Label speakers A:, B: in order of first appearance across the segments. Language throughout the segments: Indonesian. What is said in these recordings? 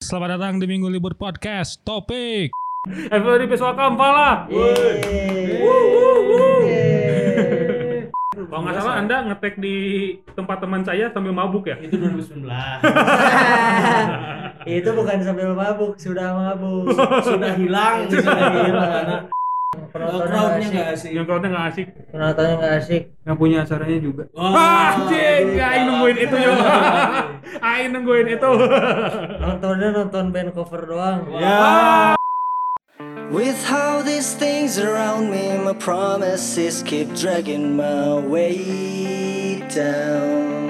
A: selamat datang di Minggu Libur Podcast. Topik.
B: FPD Peswaka Ampala. Kalau nggak salah Anda ngetek di tempat teman saya sambil mabuk ya?
C: Itu 2019.
D: itu bukan sambil mabuk sudah mabuk
C: Sudah hilang.
D: sudah hilang
C: Kalau
D: penontonnya nggak
C: crowdnya
D: asik
C: nggak asik.
B: Yang crowdnya nggak asik.
D: penontonnya nggak asik
B: Yang punya acaranya juga.
C: Wah,
B: Anjing,
C: Iya.
B: Aing nungguin itu ya. Aing nungguin itu.
D: nontonnya nonton band cover doang
E: With how these things around me, my promises keep dragging my weight down.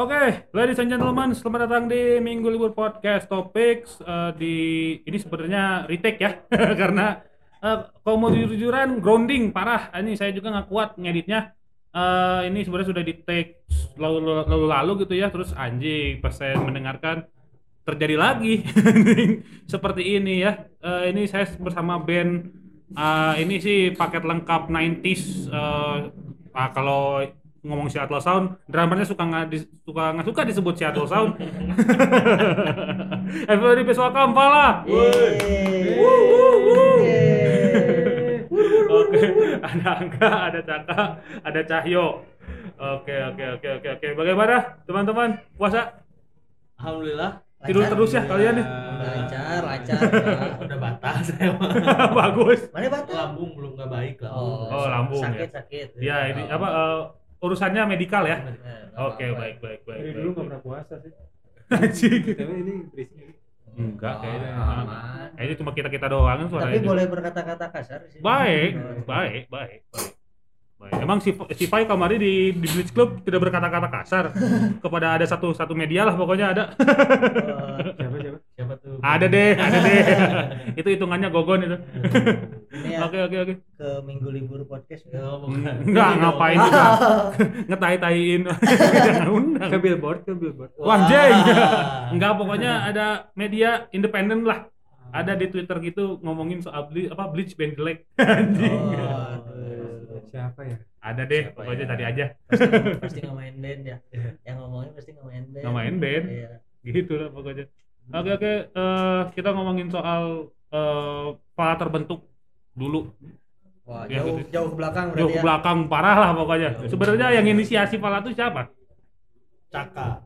B: Oke, ladies and gentlemen, selamat datang di Minggu Libur Podcast Topics eh, di ini sebenarnya retake ya karena eh, kalau mau jujur-jujuran grounding parah. Ini saya juga nggak kuat ngeditnya. Eh, ini sebenarnya sudah di take lalu, lalu lalu gitu ya. Terus anjing pas saya mendengarkan terjadi lagi seperti ini ya. Eh, ini saya bersama band eh, ini sih paket lengkap 90s eh, ah, kalau ngomong Seattle Sound, drummernya suka nggak dis- suka nggak suka disebut Seattle Sound. Everybody Peswaka
D: Iya.
B: Kampala. Oke, ada Angga, ada Caka, ada Cahyo. Oke, oke, oke, oke, oke. Bagaimana teman-teman? Puasa?
C: Alhamdulillah.
B: Tidur terus ya kalian nih.
D: Nah. lancar lancar
C: Ah, Udah batal
D: ya,
C: saya. Bang.
B: Bagus.
D: mana batal
C: Lambung belum nggak baik lah.
B: Oh, lambung
D: sakit sakit
B: Ya, ini apa eh, urusannya medikal ya?
D: Eh, nggak
B: Oke,
D: apa-apa.
B: baik, baik, baik. baik,
F: Dari dulu
B: baik.
F: nggak pernah puasa sih.
B: Anjing.
F: Tapi ini Krisnya.
B: Enggak kayaknya.
D: Oh, aman.
B: Kayaknya Eh, cuma kita-kita doang kan
D: tapi
B: suaranya.
D: boleh berkata-kata kasar sih Oh,
B: Baik, baik, baik, baik. Baik. Emang si, si Fai kemarin di di Blitz Club tidak berkata-kata kasar kepada ada satu satu media lah pokoknya ada.
D: Eh,
F: Siapa siapa?
C: Siapa tuh?
B: Ada deh, ada deh. itu hitungannya gogon itu.
D: ini ya
B: Oke, oke, oke.
D: ke minggu libur podcast
C: Ya,
D: ya.
C: bukan.
B: Enggak ngapain juga. Ngetai-taiin. Jangan undang.
F: Ke billboard, ke billboard.
B: Wah, anjing. Enggak, pokoknya ada media independen lah. Ada di Twitter gitu ngomongin soal bli, apa Bleach Band jelek. Anjing.
D: Waduh.
F: Siapa ya?
B: Ada deh,
D: Siapa
B: pokoknya
D: ya?
B: tadi aja.
D: Pasti- pasti nggak main band ya yang ngomongin pasti nggak main band
B: Nggak main Iya. band.
D: Iya.
B: gitu lah pokoknya oke oke eh, kita ngomongin soal eh pala terbentuk dulu
D: wah
B: Ya,
D: jauh
B: betul.
D: jauh ke belakang
B: jauh
D: berarti
B: ke
D: ya
B: belakang parah lah pokoknya sebenarnya yang inisiasi pala itu siapa
C: Caka.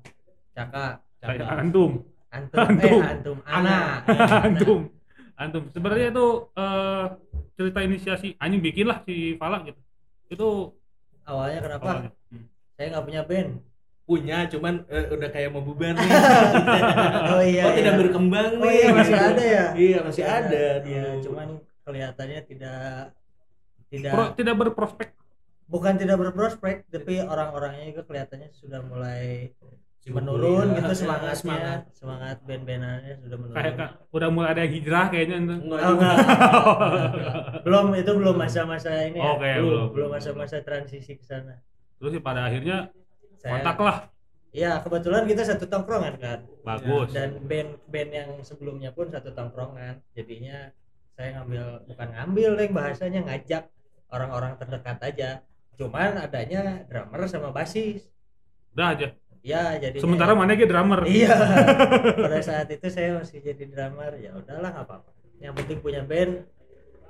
D: caka
B: Saya-
C: Caka.
B: antum
D: antum,
B: Antum.
D: eh antum ana
B: antum antum sebenarnya itu eh cerita inisiasi anjing bikin lah si pala gitu itu
D: awalnya kenapa
B: awalnya. Hmm.
D: saya nggak punya band
C: Punya, cuman eh, udah kayak mau bubar nih.
B: Ah,
D: oh iya
C: Kok
D: iya.
C: tidak berkembang
D: oh
C: nih?
D: iya masih ada ya
C: Iya, masih ada.
D: Iya,
C: tuh.
D: cuman kelihatannya tidak tidak
B: Pro- tidak berprospek
D: bukan tidak berprospek tapi orang-orangnya juga kelihatannya sudah mulai
C: Sibuk
D: menurun
C: kuliah.
D: gitu semangatnya
C: Semangat.
D: semangat, band-bandannya sudah menurun
B: iya, kayak Kak, udah mulai ada yang hijrah kayaknya itu.
C: Enggak
D: Oh,
C: juga.
D: enggak. belum itu belum masa-masa ini ya.
B: Oke,
D: belum
B: belum, belum.
D: belum masa-masa transisi ke sana
B: terus sih pada akhirnya
D: Saya-
B: kontak lah
D: Iya, kebetulan kita satu tongkrongan kan.
B: bagus
D: Dan band-band yang sebelumnya pun satu tongkrongan. Jadinya saya ngambil bukan ngambil, Leng, bahasanya ngajak orang-orang terdekat aja. Cuman adanya drummer sama basis.
B: udah aja
D: Ya, jadi
B: sementara mana ke drummer
D: Iya. Pada saat itu saya masih jadi drummer. Ya udahlah nggak apa-apa. Yang penting punya band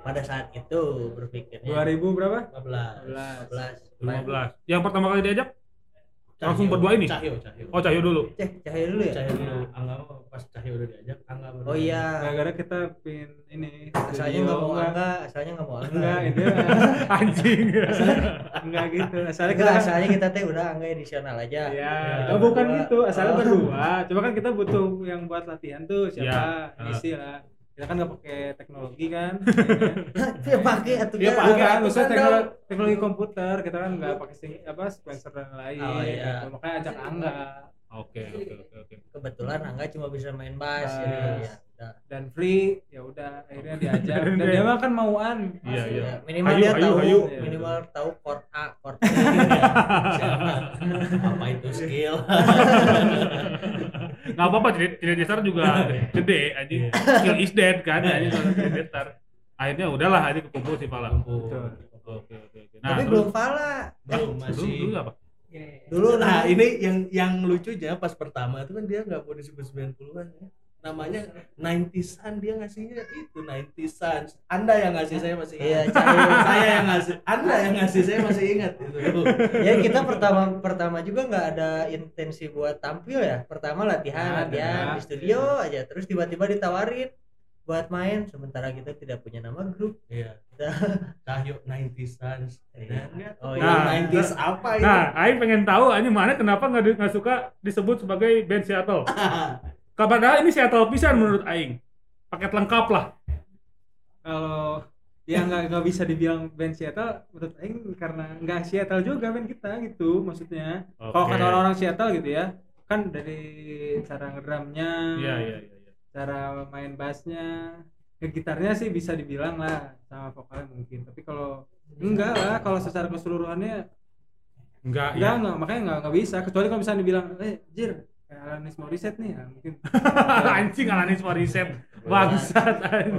D: pada saat itu berpikirnya
F: 2000 berapa?
B: 15
D: 15 15.
B: yang pertama kali diajak Langsung berdua ini?
C: Cahyo, Cahyo.
B: oh Cahyo dulu
D: Ceh, cahaya dulu ya.
C: Cahyo dulu. Angga mah pas Cahyo udah diajak, Angga baru.
D: Oh iya.
F: Gara-gara kita pin ini.
D: Asalnya nggak mau
F: studio, Iya, enggak.
D: angka, asalnya nggak mau angka.
F: Enggak, itu
B: anjing
F: enggak gitu. Asalnya
D: Enggak,
F: kita
D: asalnya kita teh udah angga edisional aja.
F: Ya,
B: Kita
F: oh, bukan
D: berdua.
F: gitu. Asalnya berdua. Coba kan kita butuh yang buat latihan
D: Iya.
F: tuh
D: Ah.
F: siapa
B: Ya.
F: isi lah. Kita kan nggak pakai teknologi kan.
D: Dia pakai atau
C: Dia
F: Bukan,
C: pakai
F: kan,
C: atuh kan,
F: maksudnya teknologi, teknologi komputer, kita kan nggak pakai sing- apa sequencer dan lain
D: Oh, iya.
F: gitu. Makanya ajak Angga.
B: Oke, oke, oke, oke.
D: kebetulan Angga cuma bisa main bass
F: Bass.
D: jadi ya udah.
F: dan free ya udah akhirnya diajak dan
B: Iya.
F: dia mah kan mauan Iya.
B: Iya,
D: Ya,
B: iya.
D: minimal
B: Hayu,
D: dia
B: hayu,
D: tahu
B: hayu.
D: minimal tahu chord A chord B
C: Siapa? apa itu skill
B: Nggak apa-apa, Trinity Trinity Star juga gede anjing. Skill is dead kan anjing kalau Trinity Star. Akhirnya udahlah anjing kekumpul si Pala.
F: Betul.
C: Oh.
B: Oke, oke, oke. Nah,
D: tapi belum pala
C: belum
B: terus,
C: masih
B: dulu, dulu apa?
D: dulu
C: nah
D: namanya-
C: ini yang yang lucunya pas pertama itu kan dia nggak mau disebut 90-an ya. namanya 90-an dia ngasihnya itu 90-an anda yang ngasih saya masih
D: Iya,
C: ingat
D: Cahyo.
C: saya yang ngasih anda yang ngasih saya masih ingat itu
D: ya kita pertama pertama juga nggak ada intensi buat tampil ya pertama
F: Nggak ada.
D: latihan latihan di studio aja terus tiba-tiba ditawarin buat main sementara kita tidak punya nama grup
C: iya
D: Dah.
C: Cahyo 90-an
D: Iya. Oh,
C: oh,
D: iya.
C: 90s apa itu
B: Nah, Aing pengen tahu anjing mana kenapa nggak di- nggak suka disebut sebagai band Seattle. Padahal ini Seattle pisan menurut Aing. Paket lengkap lah.
F: kalau ya nggak nggak bisa dibilang band Seattle menurut Aing karena nggak Seattle juga band kita gitu maksudnya kalau kata orang-orang Seattle gitu ya kan dari cara ngedrumnya
B: Iya, iya, iya. iya.
F: cara main bassnya ke gitarnya sih bisa dibilang lah sama vokalnya mungkin tapi kalau enggak lah kalau secara keseluruhannya
B: Enggak,
F: enggak
B: ya.
F: enggak makanya enggak enggak bisa kecuali kalau misalnya dibilang eh jir kayak Alanis Morissette nih ya mungkin
B: anjing Alanis Morissette bangsat anjing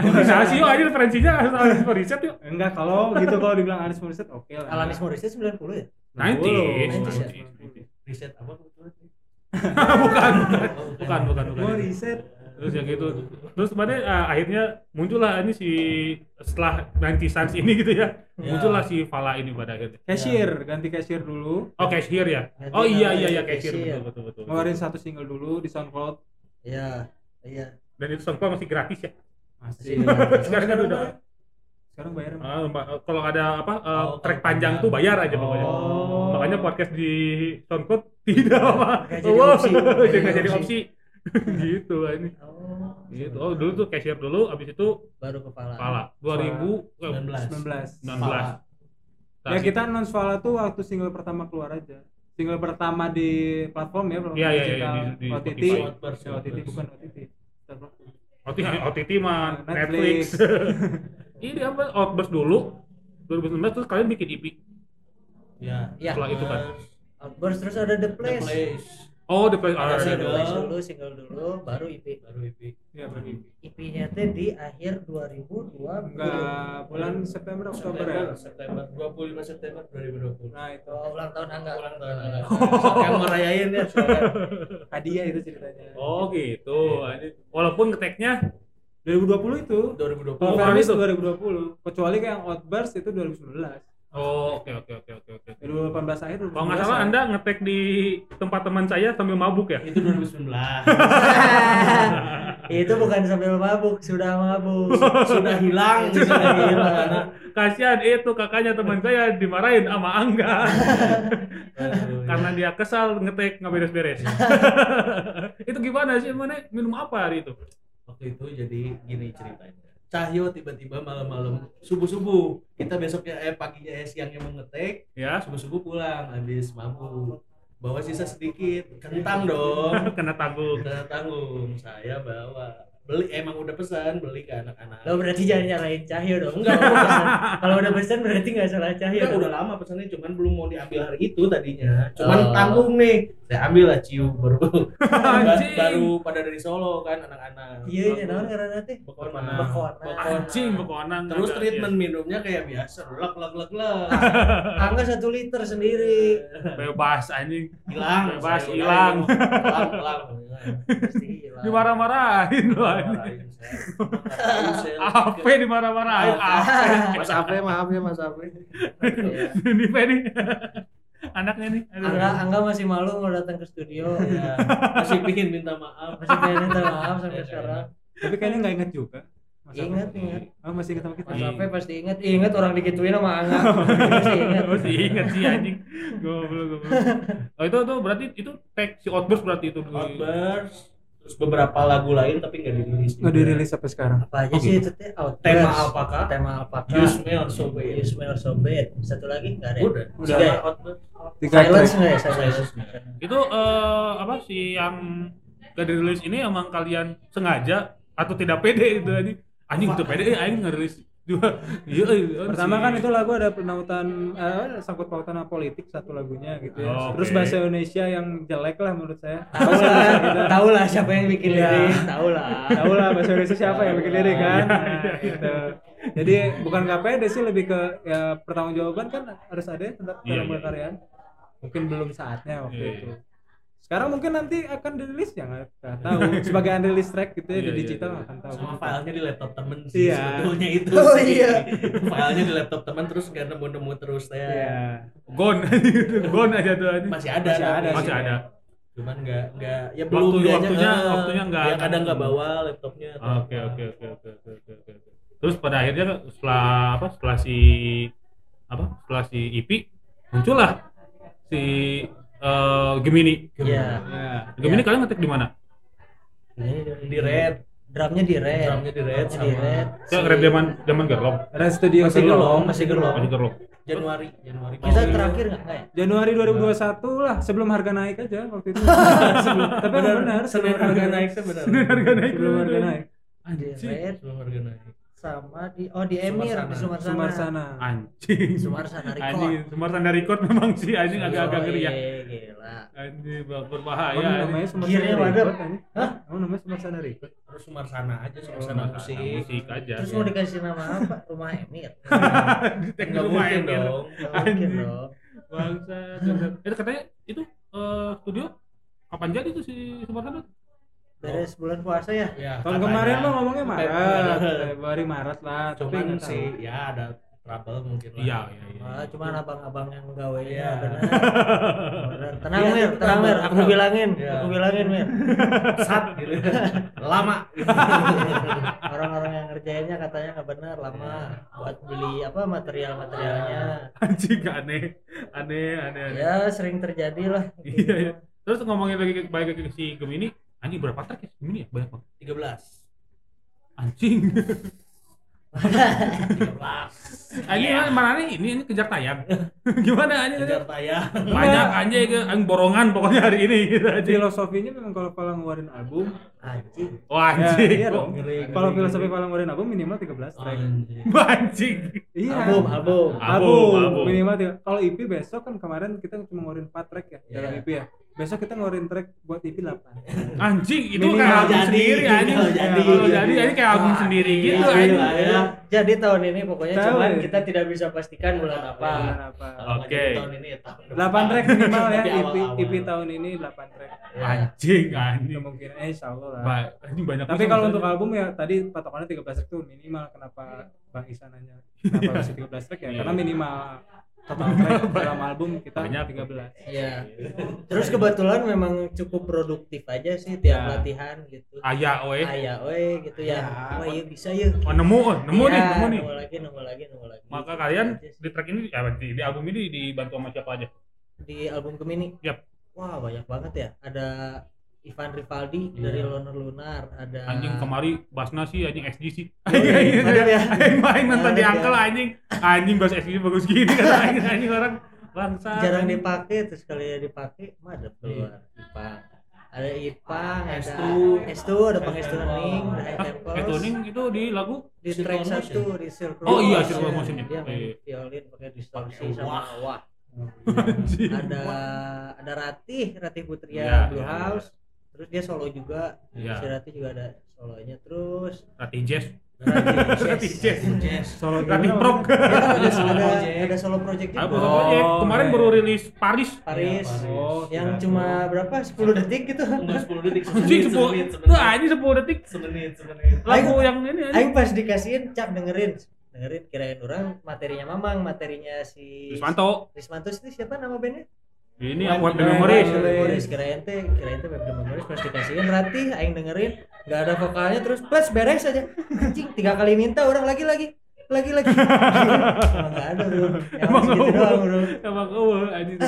B: bisa sih yuk anjing referensinya Alanis Morissette yuk
F: enggak kalau gitu kalau dibilang Alanis Morissette oke lah
D: Alanis Morissette 90 ya
B: 90s,
D: 90s, ya?
B: 90s.
C: riset apa Oh, bukan
B: bukan bukan bukan bukan
F: Morissette
B: terus yang gitu terus kemarin eh, akhirnya muncullah ini si setelah 90 sans ini gitu ya muncullah si Fala ini pada akhirnya
F: cashier
B: Iya.
F: ganti cashier dulu
B: oh cashier ya
D: Nanti
B: oh iya iya
D: namanya
B: iya
D: Cashier.
B: cashier betul betul betul, betul.
F: ngeluarin satu single dulu di SoundCloud
D: iya iya
B: dan itu songkok masih gratis ya
F: masih
C: Iya.
D: Masih.
B: sekarang kan udah
F: sekarang bayar
B: Ah, ma- kalau ada apa eh,
C: Oh,
B: track
C: kalau
B: panjang
C: panjang.
B: tuh bayar aja pokoknya
F: Oh.
B: makanya podcast di SoundCloud tidak apa
D: Nggak jadi opsi.
B: jadi nggak jadi opsi gitu ini
D: oh
B: gitu oh dulu tuh cashier dulu abis itu
D: baru kepala
B: pala 2000 eh,
F: 19
B: 19
F: Ya kita announce Fala tuh waktu single pertama keluar aja. Single pertama di platform ya, platform
B: Iya, iya, iya,
F: digital.
B: di- di
F: OTT.
B: Spotify.
F: Eh, OTT bukan OTT.
B: OTT, OTT mah oh, Netflix,
F: Netflix.
B: ini apa Outburst dulu 2019 terus kalian bikin E EP
C: ya
D: Iya.
B: setelah itu kan
D: outburst terus ada the
C: The
D: place,
C: place
B: oh The Place
D: ada
B: Are-
D: the
C: single.
D: place dulu single dulu baru IP
C: baru EP
F: Iya, berarti.
D: IP-nya teh di akhir 2002
F: Enggak, bulan September Oktober ya.
C: September, September 25 September 2020
F: Nah, itu
D: Oh, ulang tahun Angga
C: ulang tahun anak saya mau rayain ya silakan.
F: hadiah itu ceritanya.
B: oh gitu Ini- walaupun ngeteknya
F: 2020 itu.
C: 2020
F: Kalau
B: Oh,
F: Ferris
B: itu.
F: 2020, kecuali kayak yang Outburst itu 2019.
B: oh oke oke oke oke oke
F: 2018 akhir
B: kalau nggak salah anda ngetek di tempat teman saya sambil mabuk ya
C: itu 2019
D: itu bukan sambil mabuk sudah mabuk
C: sudah hilang
D: sudah hilang
B: kasihan itu kakaknya teman saya dimarahin sama Angga
C: Kan
B: karena dia kesal ngetek nggak beres-beres itu gimana sih mana minum apa hari itu
C: waktu itu jadi gini ceritanya Cahyo tiba-tiba malam-malam subuh-subuh kita besoknya eh paginya eh siangnya mau ngetek
B: ya
C: subuh-subuh pulang habis mabuk bawa sisa sedikit kentang dong
B: kena tanggung
C: kita tanggung saya bawa beli emang udah pesan beli ke anak-anak
D: Lo berarti jangan nyalahin Cahyo dong.
C: Enggak,
D: Kalau udah pesan- Kalau udah pesan berarti nggak salah Cahyo.
C: Kan
D: dong.
C: udah lama pesannya cuman belum mau diambil hari itu tadinya
D: Oh.
C: cuman tanggung nih saya ambil lah ciu baru
B: Anjing.
C: baru pada dari Solo kan anak-anak
D: Iya, iya, naon karena teh.
C: Bekona.
D: Bekona.
B: anjing bekonang
C: terus
B: Agak,
C: treatment
D: iya.
C: minumnya kayak biasa lek lek lek lek
D: Angga satu liter Ah, sendiri.
B: ya. iya. bebas anjing
C: hilang
B: Bebas,
C: saya udah
B: hilang.
C: hilang hilang hilang
D: Pasti hilang.
B: dimarah-marahin loh anjing
C: Marahin saya. Marahin saya.
B: Ape dimarah-marahin
C: Iya.
B: Ape
C: Mas Ape maaf ya Mas Ape
D: Iya.
B: ini Fe, nih anaknya nih Aduh.
D: Angga, Angga masih malu mau datang ke studio.
C: Iya, masih pingin minta maaf
D: Masih pengen minta maaf sampai
C: Iya,
D: sekarang.
F: Tapi kayaknya nggak inget juga. Mas Ape.
D: Ingat, ingat.
F: Oh, masih ingat sama kita.
D: Mas Ape pasti ingat, ingat orang dikituin sama Angga. Pasti ingat.
B: Masih ingat sih anjing. Goblok goblok. Oh itu tuh berarti itu tag si Outburst berarti itu.
C: Outburst terus beberapa lagu lain tapi nggak dirilis juga.
F: Nggak dirilis sampai sekarang.
D: Apa
B: Oh,
D: aja sih
B: gitu.
D: itu teh? Outburst.
C: tema apakah
D: Tema apakah?
C: You smell so
D: You
C: bad
D: smell so bad. Satu lagi nggak ada. ya?
C: udah
D: Udah.
C: Outburst
F: tiga
D: silence
F: track.
D: nggak ya silence
B: Itu eh, apa sih yang gak dirilis ini emang kalian sengaja atau tidak pede itu anjing? Anjing itu pede, eh anjing ngerilis dua. Iya, iya,
F: Pertama
B: sih.
F: kan itu lagu ada penautan eh, sangkut pautan sama politik satu lagunya gitu ya.
B: Oh,
F: Terus
B: oke.
F: bahasa Indonesia yang jelek lah menurut saya.
D: tahu
F: Bahasa
D: lah
F: Indonesia kita-
D: tahu lah siapa yang bikin
F: Iya.
D: lirik tahu lah
F: tahu lah bahasa Indonesia siapa yang bikin lirik
B: Iya,
F: kan Nah,
B: iya, iya.
F: gitu. jadi bukan nggak pede sih lebih ke ya pertanggungjawaban kan harus ada ya tentang
B: Iya,
F: dalam
B: iya.
F: berkarya mungkin belum saatnya waktu
B: Iya,
F: itu
B: iya.
F: sekarang mungkin nanti akan dirilis ya nggak nggak tahu sebagai unreleased track gitu ya
B: Iya,
F: di
B: iya,
F: digital
B: iya.
F: nggak akan tahu
C: sama filenya di laptop temen sih
F: Iya.
C: sebetulnya itu
D: Oh,
C: sih.
D: iya.
C: filenya di laptop temen terus nggak nemu nemu terus saya
F: Iya.
B: gon gitu, gon aja tuh anjing.
C: masih ada
F: Masih ada
C: tapi.
B: Masih ada.
C: cuman nggak nggak ya
B: Waktu-
C: belum dianya,
B: waktunya-
C: eh,
B: waktunya nggak
C: ya
B: ada.
C: kadang nggak bawa laptopnya atau
B: Oke
C: apa.
B: oke oke oke oke oke, oke. Terus pada akhirnya setelah apa setelah si apa setelah si IP muncullah si eh, Gemini.
D: Iya.
F: ya
B: Gemini kalian ngetek di mana?
C: Nah, di red
D: drumnya di red
C: drumnya di red
D: Drumnya
C: sama
D: di red
B: Saya rap zaman zaman gerlong.
F: Red Studio
D: masih
F: Gelong.
D: gelong masih gelong
B: Masih gerlong.
C: Januari Januari
D: kita terakhir nggak nggak ya
F: Januari 2021 lah sebelum harga naik aja waktu itu Sebelum- tapi
C: benar
F: emang benar
C: senin
F: sebelum
C: harga naik sih benar
B: Senin harga naik.
F: sebelum harga naik
D: di red
C: sebelum harga naik
D: sama di oh di emir di
C: Sumarsana.
D: sumarsana
F: Sumarsana
B: Ah, Anjing.
D: Sumarsana record.
B: Anjing Sumarsana record memang sih anjing
C: Iya,
B: agak-agak
D: Yoi,
B: ngeri ya.
D: gila
B: Anjing ber-
F: Emang
B: berbahaya. anjing.
F: namanya Sumarsana
D: Gearnya wadah.
F: Record, anjing?
D: Hah?
F: Emang namanya Sumarsana Record?
C: terus Sumarsana aja Sumarsana
B: Sumarsana
C: musik
B: musik aja.
D: terus mau dikasih nama apa rumah emir
B: Tek
C: nggak
B: rumah
C: mungkin
B: Emil.
C: dong
D: Nggak mungkin
B: Anjing.
D: dong
B: Bangsa. Itu katanya itu eh, studio kapan jadi tuh si Sumarsana?
D: beres bulan puasa ya
C: ya
F: Tahun
C: katanya.
F: kemarin lo ngomongnya
C: Tapi-
F: Maret, eh, Februari Maret lah. tapi
C: cuman
F: nggak
C: sih
F: tahu.
C: ya ada trouble mungkin lah.
B: Iya iya iya.
D: Ah, cuman abang-abang yang gawe
C: Iya.
D: ya benar. Benar. Tenang
C: Iya,
D: Mir,
C: itu
D: tenang Mir, aku
C: abang-abang.
D: bilangin,
C: Iya.
D: aku bilangin Mir.
C: sat gitu lama
D: Orang-orang yang ngerjainnya katanya nggak benar lama buat beli apa material-materialnya.
B: anjing aneh aneh aneh aneh
C: Iya.
D: Ya sering terjadi lah.
B: Ah. iya iya terus ngomongin lagi ke- balik lagi ke si Gemini anjing berapa track ya Gemini ya banyak banget
C: 13
B: anjing
C: 13
B: anjing mana- mana nih ini ini kejar tayang gimana anjing
C: Iya. kejar tayang
B: banyak anjing ke anjing borongan pokoknya hari ini gitu anjing
F: Filosofinya memang kalau Pala ngeluarin album,
D: Anjing.
B: wah Oh, anjing
F: Ya, iya dong.
C: Ngeri, ngeri,
F: kalau
C: ngeri.
F: filosofi Pala ngeluarin album minimal 13 track.
C: Anjing.
B: Wah, anjing
F: Iya.
D: Album, album.
B: Album, album.
F: minimal tiga. Kalau EP besok kan kemarin kita cuma ngeluarin 4 track ya dalam EP ya. Besok kita ngeluarin track buat E EP 8.
B: anjing itu
F: Minimal
B: kayak album
C: jadi,
B: sendiri anjing
C: minimal
B: Ya,
C: jadi,
B: kalau
C: jadi.
B: jadi anjing kayak album
C: Wah,
B: sendiri gitu
C: iya,
B: anjing
C: iya.
D: Ya. Jadi tahun ini pokoknya
F: Tahu,
D: cuman
F: ya.
D: kita tidak bisa pastikan bulan apa.
F: Bulan apa?
C: Kalau nggak
B: Oke.
C: jadi tahun ini ya tahun
F: 8 track minimal ya
C: Di
F: EP,
C: awal-awal.
F: EP tahun ini 8 track.
B: anjing anjing
F: Kemungkinan eh, insyaallah lah.
B: Ba- anjing banyak
F: Tapi
B: banget.
F: kalau untuk album ya tadi patokannya 13 track tuh minimal kenapa Bang Isan nanya kenapa bisa 13 track ya?
B: Iya.
F: Karena minimal total track dalam album kita
B: Banyak.
F: 13.
D: Iya. Terus kebetulan memang cukup produktif aja sih tiap
B: Iya.
F: Ya.
D: latihan gitu.
B: ayah weh
D: Ayah, weh gitu ya.
F: Ya.
D: Wah, iya bisa ya.
B: Oh, nemu, oh, nemu nih,
D: Iya,
B: nemu nih.
D: Nemu lagi, nemu lagi, nemu lagi. Gitu
B: Maka kalian di track ini, ya, di, di album ini dibantu sama siapa aja?
D: di album Gemini.
B: Yap.
D: Wah banyak banget ya. Ada Ivan Rivaldi
C: Iya.
D: dari Loner Lunar, ada
B: Anjing ya? Iya, kemari Basna sih, anjing SD sih.
D: Yoi, mantap ya.
B: Anjing main nonton di
D: Mantap ya.
B: angkel anjing. Anjing bahas SD bagus gini kan anjing, anjing orang bangsa.
D: jarang dipakai terus sekali dipakai madep keluar.
B: Iya.
D: Ipang. Ada Ipang,
B: Ah,
D: ada
C: Estu.
D: Estu, ada Pang Estu Hening, ada High
B: Hah,
D: Temples.
B: itu ning Ah, itu di lagu
D: di track
C: Circle
D: satu di Circle
B: Oh iya,
D: Motion.
B: Circle Motion ya.
D: Dia main
B: Iya.
D: violin pakai distorsi
C: Pakai
D: sama
C: wah.
D: wah.
B: anjing.
D: Ada ada Ratih, Ratih Putria
B: Iya,
D: Blue
B: iya,
D: House. Terus dia solo juga.
B: Iya.
D: Si Ratih juga ada solonya. Terus
B: Ratih Jazz. Ratih
D: Ratih
B: Jazz.
C: Jazz.
F: Solo
B: Ratih
F: gimana,
B: Prok.
F: Bang?
D: ada
C: solo
D: ada,
C: project.
D: ada solo project juga.
B: Apa pokoknya kemarin
F: iya.
B: baru rilis Paris.
D: Paris
C: Iya, Paris.
F: Oh,
D: yang
F: sudah.
D: cuma berapa 10 detik gitu.
C: Enggak 10 detik,
B: Anjing
C: semenit,
B: sepuluh,
C: semenit,
B: tuh
C: semenit,
B: anjing sepuluh detik
C: semenit, semenit.
B: lagu yang ini anjing.
D: Aing pas dikasihin cap dengerin dengerin kirain orang materinya Mamang, materinya si
B: Manto,
D: Rismanto itu siapa nama bandnya?
B: ini yang
C: Wah,
B: Iya, buat
C: keren,
B: memories.
F: keren.
D: Memories kirain teh kirain teh Web Memories pas dikasihin Ratih aing dengerin nggak ada vokalnya terus plus beres aja. Anjing tiga kali minta orang lagi lagi lagi lagi. Emang nggak ada bro. Emang
B: Emang
D: segitu
B: nggak ada.
D: doang bro.
B: Emang oh, anjing.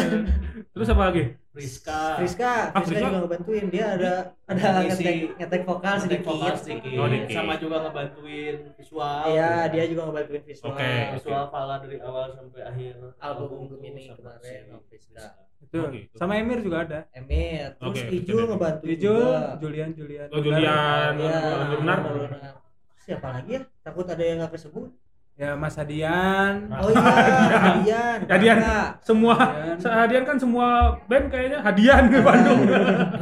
B: Terus apa lagi?
C: Friska
D: Friska,
B: Ah,
D: Friska
B: Friska.
D: juga ngebantuin dia ada ada
C: Ngisi.
D: ngetek ngetek vokal
C: Ngetek
D: sedikit.
C: vokal sedikit.
B: Oh, dikit.
C: sama juga ngebantuin visual
D: Iya, dia juga ngebantuin visual.
B: Oke.
C: visual Fala dari awal sampai akhir
D: Album ini
C: sama
D: kemarin,
C: si
D: oh, Friska.
F: Betul.
B: Oh, gitu.
F: Sama Emir juga ada.
D: Iya. Emir, terus
B: Oke,
D: Ijul
B: Ijul.
D: ngebantuin
F: Ijul,
D: juga.
F: Julian, Julian.
B: Oh, Julian,
D: Iya,
B: Lunar.
D: Lunar. Siapa lagi ya? Takut ada yang nggak kesebut.
F: Ya Mas Hadian.
D: Oh iya, Hadian.
B: Hadian.
D: Kakak.
B: Semua
F: Hadian.
B: sehadian kan semua band kayaknya hadian ke Bandung.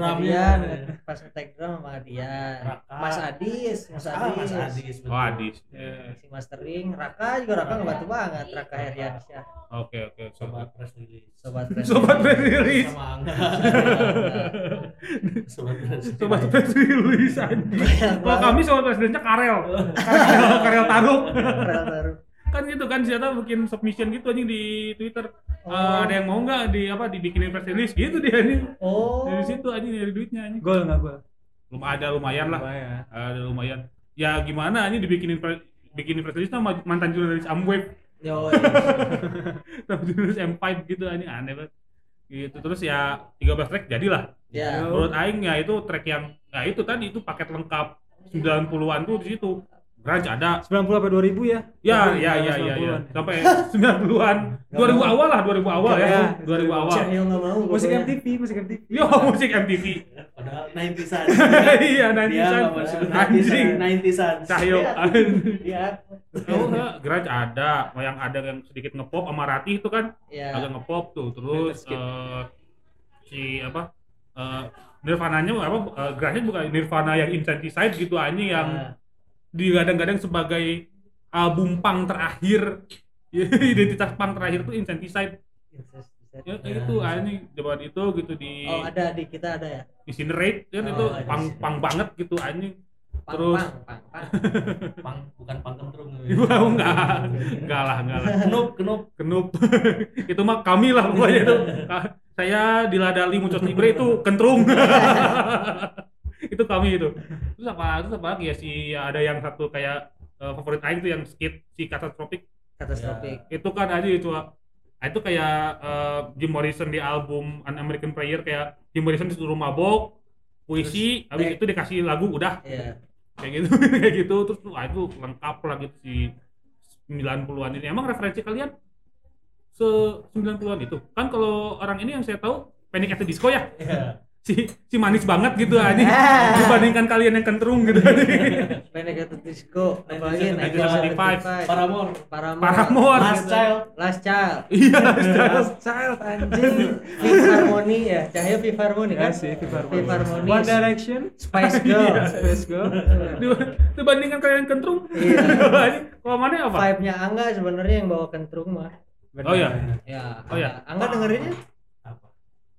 D: Hadian. Pas ngetek drum sama Hadian. Iya, Mas Adis, Mas
C: Ah,
D: Adis.
C: Mas Adis
B: Oh, Adis.
C: Iya.
D: Si mastering, Raka juga Raka ngebantu banget. Raka Heriansyah,
B: Oke, oke,
C: sama
B: sobat.
C: press release
D: sobat Resi.
B: Sobat press release.
C: sama Angga sobat press release.
B: Sobat press release anjing. Kalau kami sobat press release-nya Karel. Karel, Karel Taruk.
D: Rel baru.
B: Kan gitu kan ternyata bikin submission gitu anjing di Twitter. Eh, ada yang mau nggak di apa dibikinin press release gitu dia nih.
D: Oh.
B: Dari situ anjing dari duitnya anjing.
F: Gol nggak gol?
B: Lum ada lumayan lah.
F: Lumayan.
B: Ada lumayan. Ya gimana anjing dibikinin pre- bikinin press release sama mantan jurnalis Amway
D: Yo.
B: sama jurnalis M5 gitu anjing aneh banget. Gitu terus ya 13 track jadilah.
D: Ya.
B: menurut aing ya itu track yang ya itu tadi itu paket lengkap 90-an tuh di situ grunge ada
F: 90 apa 2000 ya?
B: ya ya ya ya, ya. sampai 90-an 2000 awal lah 2000 awal ya
F: Ya.
B: 2000 awal
D: Cek yang nggak mau.
F: Musik
D: pokoknya.
F: MTV, musik MTV.
B: yo musik MTV
C: padahal 90-an
B: iya nanti
C: dia
B: san
C: nggak mau disebut
B: anjing kan.
C: 90-an
B: cahyo
D: Iya.
B: tahu nggak grunge ada yang ada yang sedikit ngepop sama Ratih itu kan
D: Iya.
B: agak ngepop tuh terus
F: Skip.
B: eh, si apa eh, Nirvana-nya apa eh, grunge-nya bukan Nirvana yang infanticide gitu anjing yang
D: Iya. Nah,
B: digadang-gadang sebagai album punk terakhir identitas punk terakhir tuh Infanticide ya, itu anjing zaman itu gitu di
D: Iya, Oh, ada di kita ada ya.
B: incinerate kan
D: Oh,
B: itu
D: ada
B: punk
D: Incinerate.
B: punk banget gitu anjing
D: Pang,
B: Terus.
D: pang, pang, pang.
C: pang bukan pangkem terus
B: Wah, enggak enggak lah enggak lah
C: kenup kenup
B: kenup itu mah kami lah pokoknya itu Ka- saya diladali muncul libre itu kentrung itu kami itu terus apa terus apa lagi ya si ada yang satu kayak eh, favorit Aing tuh yang skit si katastropik
C: Iya.
D: Katastrofik.
B: itu kan aja itu ah, itu kayak eh, Jim Morrison di album An American Prayer kayak Jim Morrison disuruh mabok puisi habis
D: eh.
B: itu dikasih lagu udah
D: Iya.
B: kayak gitu kayak gitu terus wah itu lengkap lah gitu si 90-an ini emang referensi kalian se 90-an itu kan kalau orang ini yang saya tahu Panic at the Disco ya
C: ya
B: si si manis banget gitu aja dibandingkan kalian yang kentrung gitu aja
D: Renegade Iya. Disco, apalagi
B: 1975.
D: 1975.
C: Paramore
D: Paramore.
B: Paramore.
C: Last Child
D: Last Child.
B: iya
F: Last Child anjing.
D: Fifth Harmony ya. Cahaya Fifth Harmony
F: Ya
D: kan? Iya.
F: sih, Fifth Harmony.
D: Fifth Harmony.
F: One Direction.
D: Spice
F: Iya,
D: Girl.
F: Space Girl.
B: dibandingkan kalian yang kentrung
D: Iya.
B: Anjing, kalau mana apa
D: Vibe-nya Angga sebenarnya yang bawa kentrung mah.
B: Oh, iya.
D: Ya.
B: Oh, iya.
D: Angga Angga dengerinnya?
C: apa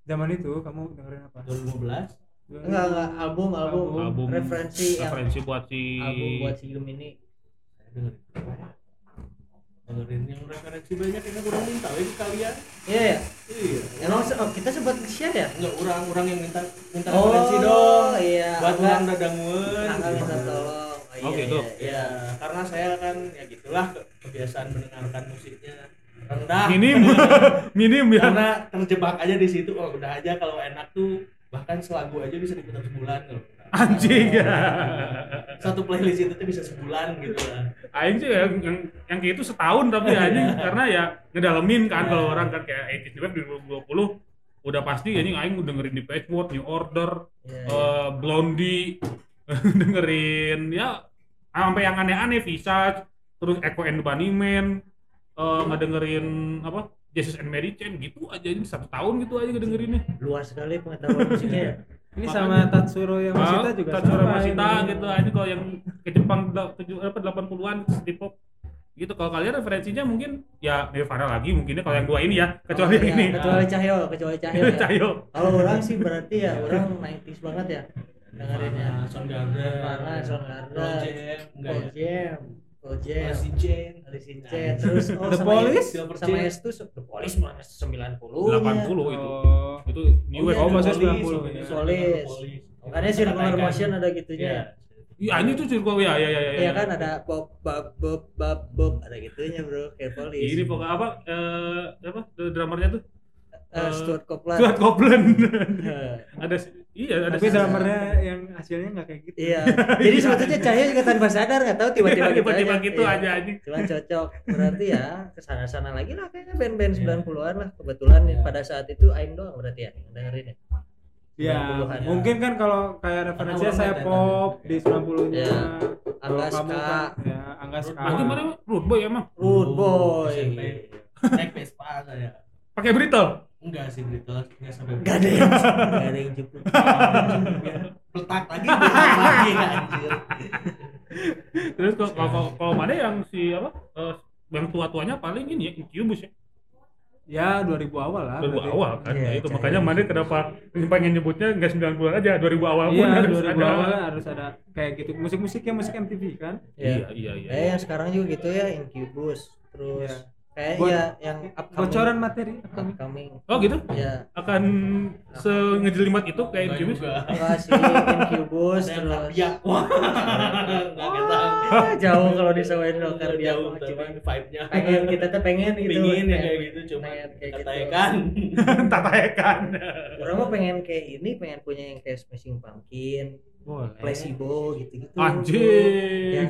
F: Zaman itu kamu dengerin apa?
C: 2015
D: Enggak, enggak album, album,
B: album
D: referensi yang
B: referensi buat si
D: album buat si Yum ini.
C: Saya dengerin dengerin yang referensi banyak yang kurang minta lagi kalian
D: Iya ya.
C: iya
D: Emang se- oh, kita sempat share ya?
C: Enggak, orang-orang yang minta minta
D: Oh,
C: referensi dong.
D: iya.
C: Buat
D: Enggak.
C: ulang dadangun.
D: Angga minta tolong.
B: Oh, gitu.
D: Iya.
C: Iya, karena saya kan ya gitulah ke- kebiasaan mendengarkan musiknya rendah.
B: minim minim ya
C: karena terjebak aja di situ. Oh, udah aja kalau enak tuh bahkan selagu aja bisa diputar sebulan loh.
B: anjing
C: Satu playlist itu tuh bisa sebulan gitu lah.
B: Aing sih yang, yang yang kayak itu setahun tapi anjing karena ya ngedalemin kan kalau orang kan kayak 80s New Wave 2020 udah pasti anjing Aing dengerin di Page Mode, New Order,
D: Iya,
B: eh, Blondie dengerin ya sampai yang aneh-aneh Visage terus Echo and the Bunnymen eh, ngedengerin apa Jesus and Mary Chain gitu aja ini satu tahun gitu aja ngedengerinnya
D: Luas sekali pengetahuan musiknya ya.
F: Ini sama Tatsuro yang Masita
B: Ah,
F: juga.
B: Tatsura
F: sama
B: Masita
F: ini.
B: gitu aja kalau yang ke Jepang da- tujuh apa 80-an street pop gitu kalau kalian referensinya mungkin ya Nirvana lagi mungkinnya kalau yang dua ini ya kecuali yang
D: Iya,
B: ini
D: Kecuali Cahyo, kecuali Cahyo. ya.
B: Cayo
D: Kalau orang sih berarti ya orang 90s banget ya dengerinnya.
C: Karena Soundgarden,
D: Nirvana, Soundgarden,
C: Project, enggak
D: Pearl
C: ya.
D: Jam, Pearl Jam,
C: Alice in Chains.
D: Alice in Chains, terus oh,
F: The
D: sama
F: Police?
D: Yes-
C: Silver
D: sama
C: Chains.
D: Yes tuh se- The Police mah 90-nya.
B: 80 itu
F: Oh.
B: itu new
D: Oh,
B: wave
D: iya,
B: oh,
F: Oh, maksudnya
C: Solis,
F: 90 ya.
C: Solis.
D: Solis.
C: Solis.
D: Makanya circular
C: Iya. Kenaikan.
D: motion ada gitunya.
C: Iya.
B: iya ini tuh circle ya ya ya ya,
D: Iya kan ada bob bob bob bob bob ada gitunya bro kayak Police.
B: ini pokoknya apa eh apa eh, drummernya tuh
D: eh, Stuart Copeland.
B: Stuart Copeland.
D: Eh,
B: ada iya ada
F: Tapi drummernya yang hasilnya nggak kayak gitu.
D: Iya. Jadi sebetulnya Cahya juga tanpa sadar nggak tahu tiba-tiba gitu
B: tiba-tiba
D: aja.
B: gitu
D: Iya.
B: aja anjing.
D: Cuma cocok. Berarti ya kesana-sana lagi lah kayaknya band-band 90-an lah. Kebetulan
C: Iya.
D: pada saat itu Aing doang berarti ya yang dengerin ya.
B: Iya,
F: Ya,
D: 90-an.
F: mungkin kan kalau kayak referensinya
C: orang
F: saya
C: nggak
F: pop
C: datang.
F: di 90-nya.
D: Iya.
F: Kalau
D: Angga Ska,
F: kamu kan ya Angga
D: Ah.
F: Ska.
B: Anjing Ah, mana emang? rude boy emang.
D: Rude Boy.
C: SMP. Naik Vespa saya.
B: Pakai brittle.
C: Enggak sih Beatles, enggak sampai
D: Gak ada yang gak ada yang cukup.
C: Letak lagi Beatles lagi anjir.
B: Terus kalau kalau- kalau mana yang si apa? eh, yang tua-tuanya paling ini ya Incubus ya.
F: Ya 2000 awal lah.
B: 2000
F: berarti.
B: awal kan.
D: Iya,
B: Ya, itu
D: Cahaya.
B: makanya mana kenapa pengen nyebutnya enggak 90-an aja, 2000 awal pun
F: Iya,
B: harus
F: 2000
B: ada.
F: awal harus ada kayak gitu. Musik-musik ya musik MTV kan.
B: Iya,
D: Iya.
B: iya, iya.
D: Eh yang sekarang juga gitu ya Incubus. Terus
F: Iya.
D: kayak
F: Buat-
D: ya yang upcoming.
F: Bocoran materi.
D: upcoming.
B: Oh gitu?
D: Ya,
B: Akan sengejelimat itu kayak
C: Enggak
B: Incubus.
C: juga.
D: kasih Incubus
C: Ada yang
D: terus.
C: Tapia. Wah. Enggak kata.
D: Ah, jauh kalau disamain dokter dia
C: jauh
D: mah
C: tapi
D: cuma
C: vibe-nya.
D: pengen kita tuh pengen gitu
C: Pingin ya kayak gitu cuma
D: pengen kayak gitu.
C: katanya kan.
B: Tataekan.
D: orang mah pengen kayak ini pengen punya yang kayak smashing pumpkin
F: Boleh.
D: placebo gitu gitu
B: Eh. Anjing.
D: yang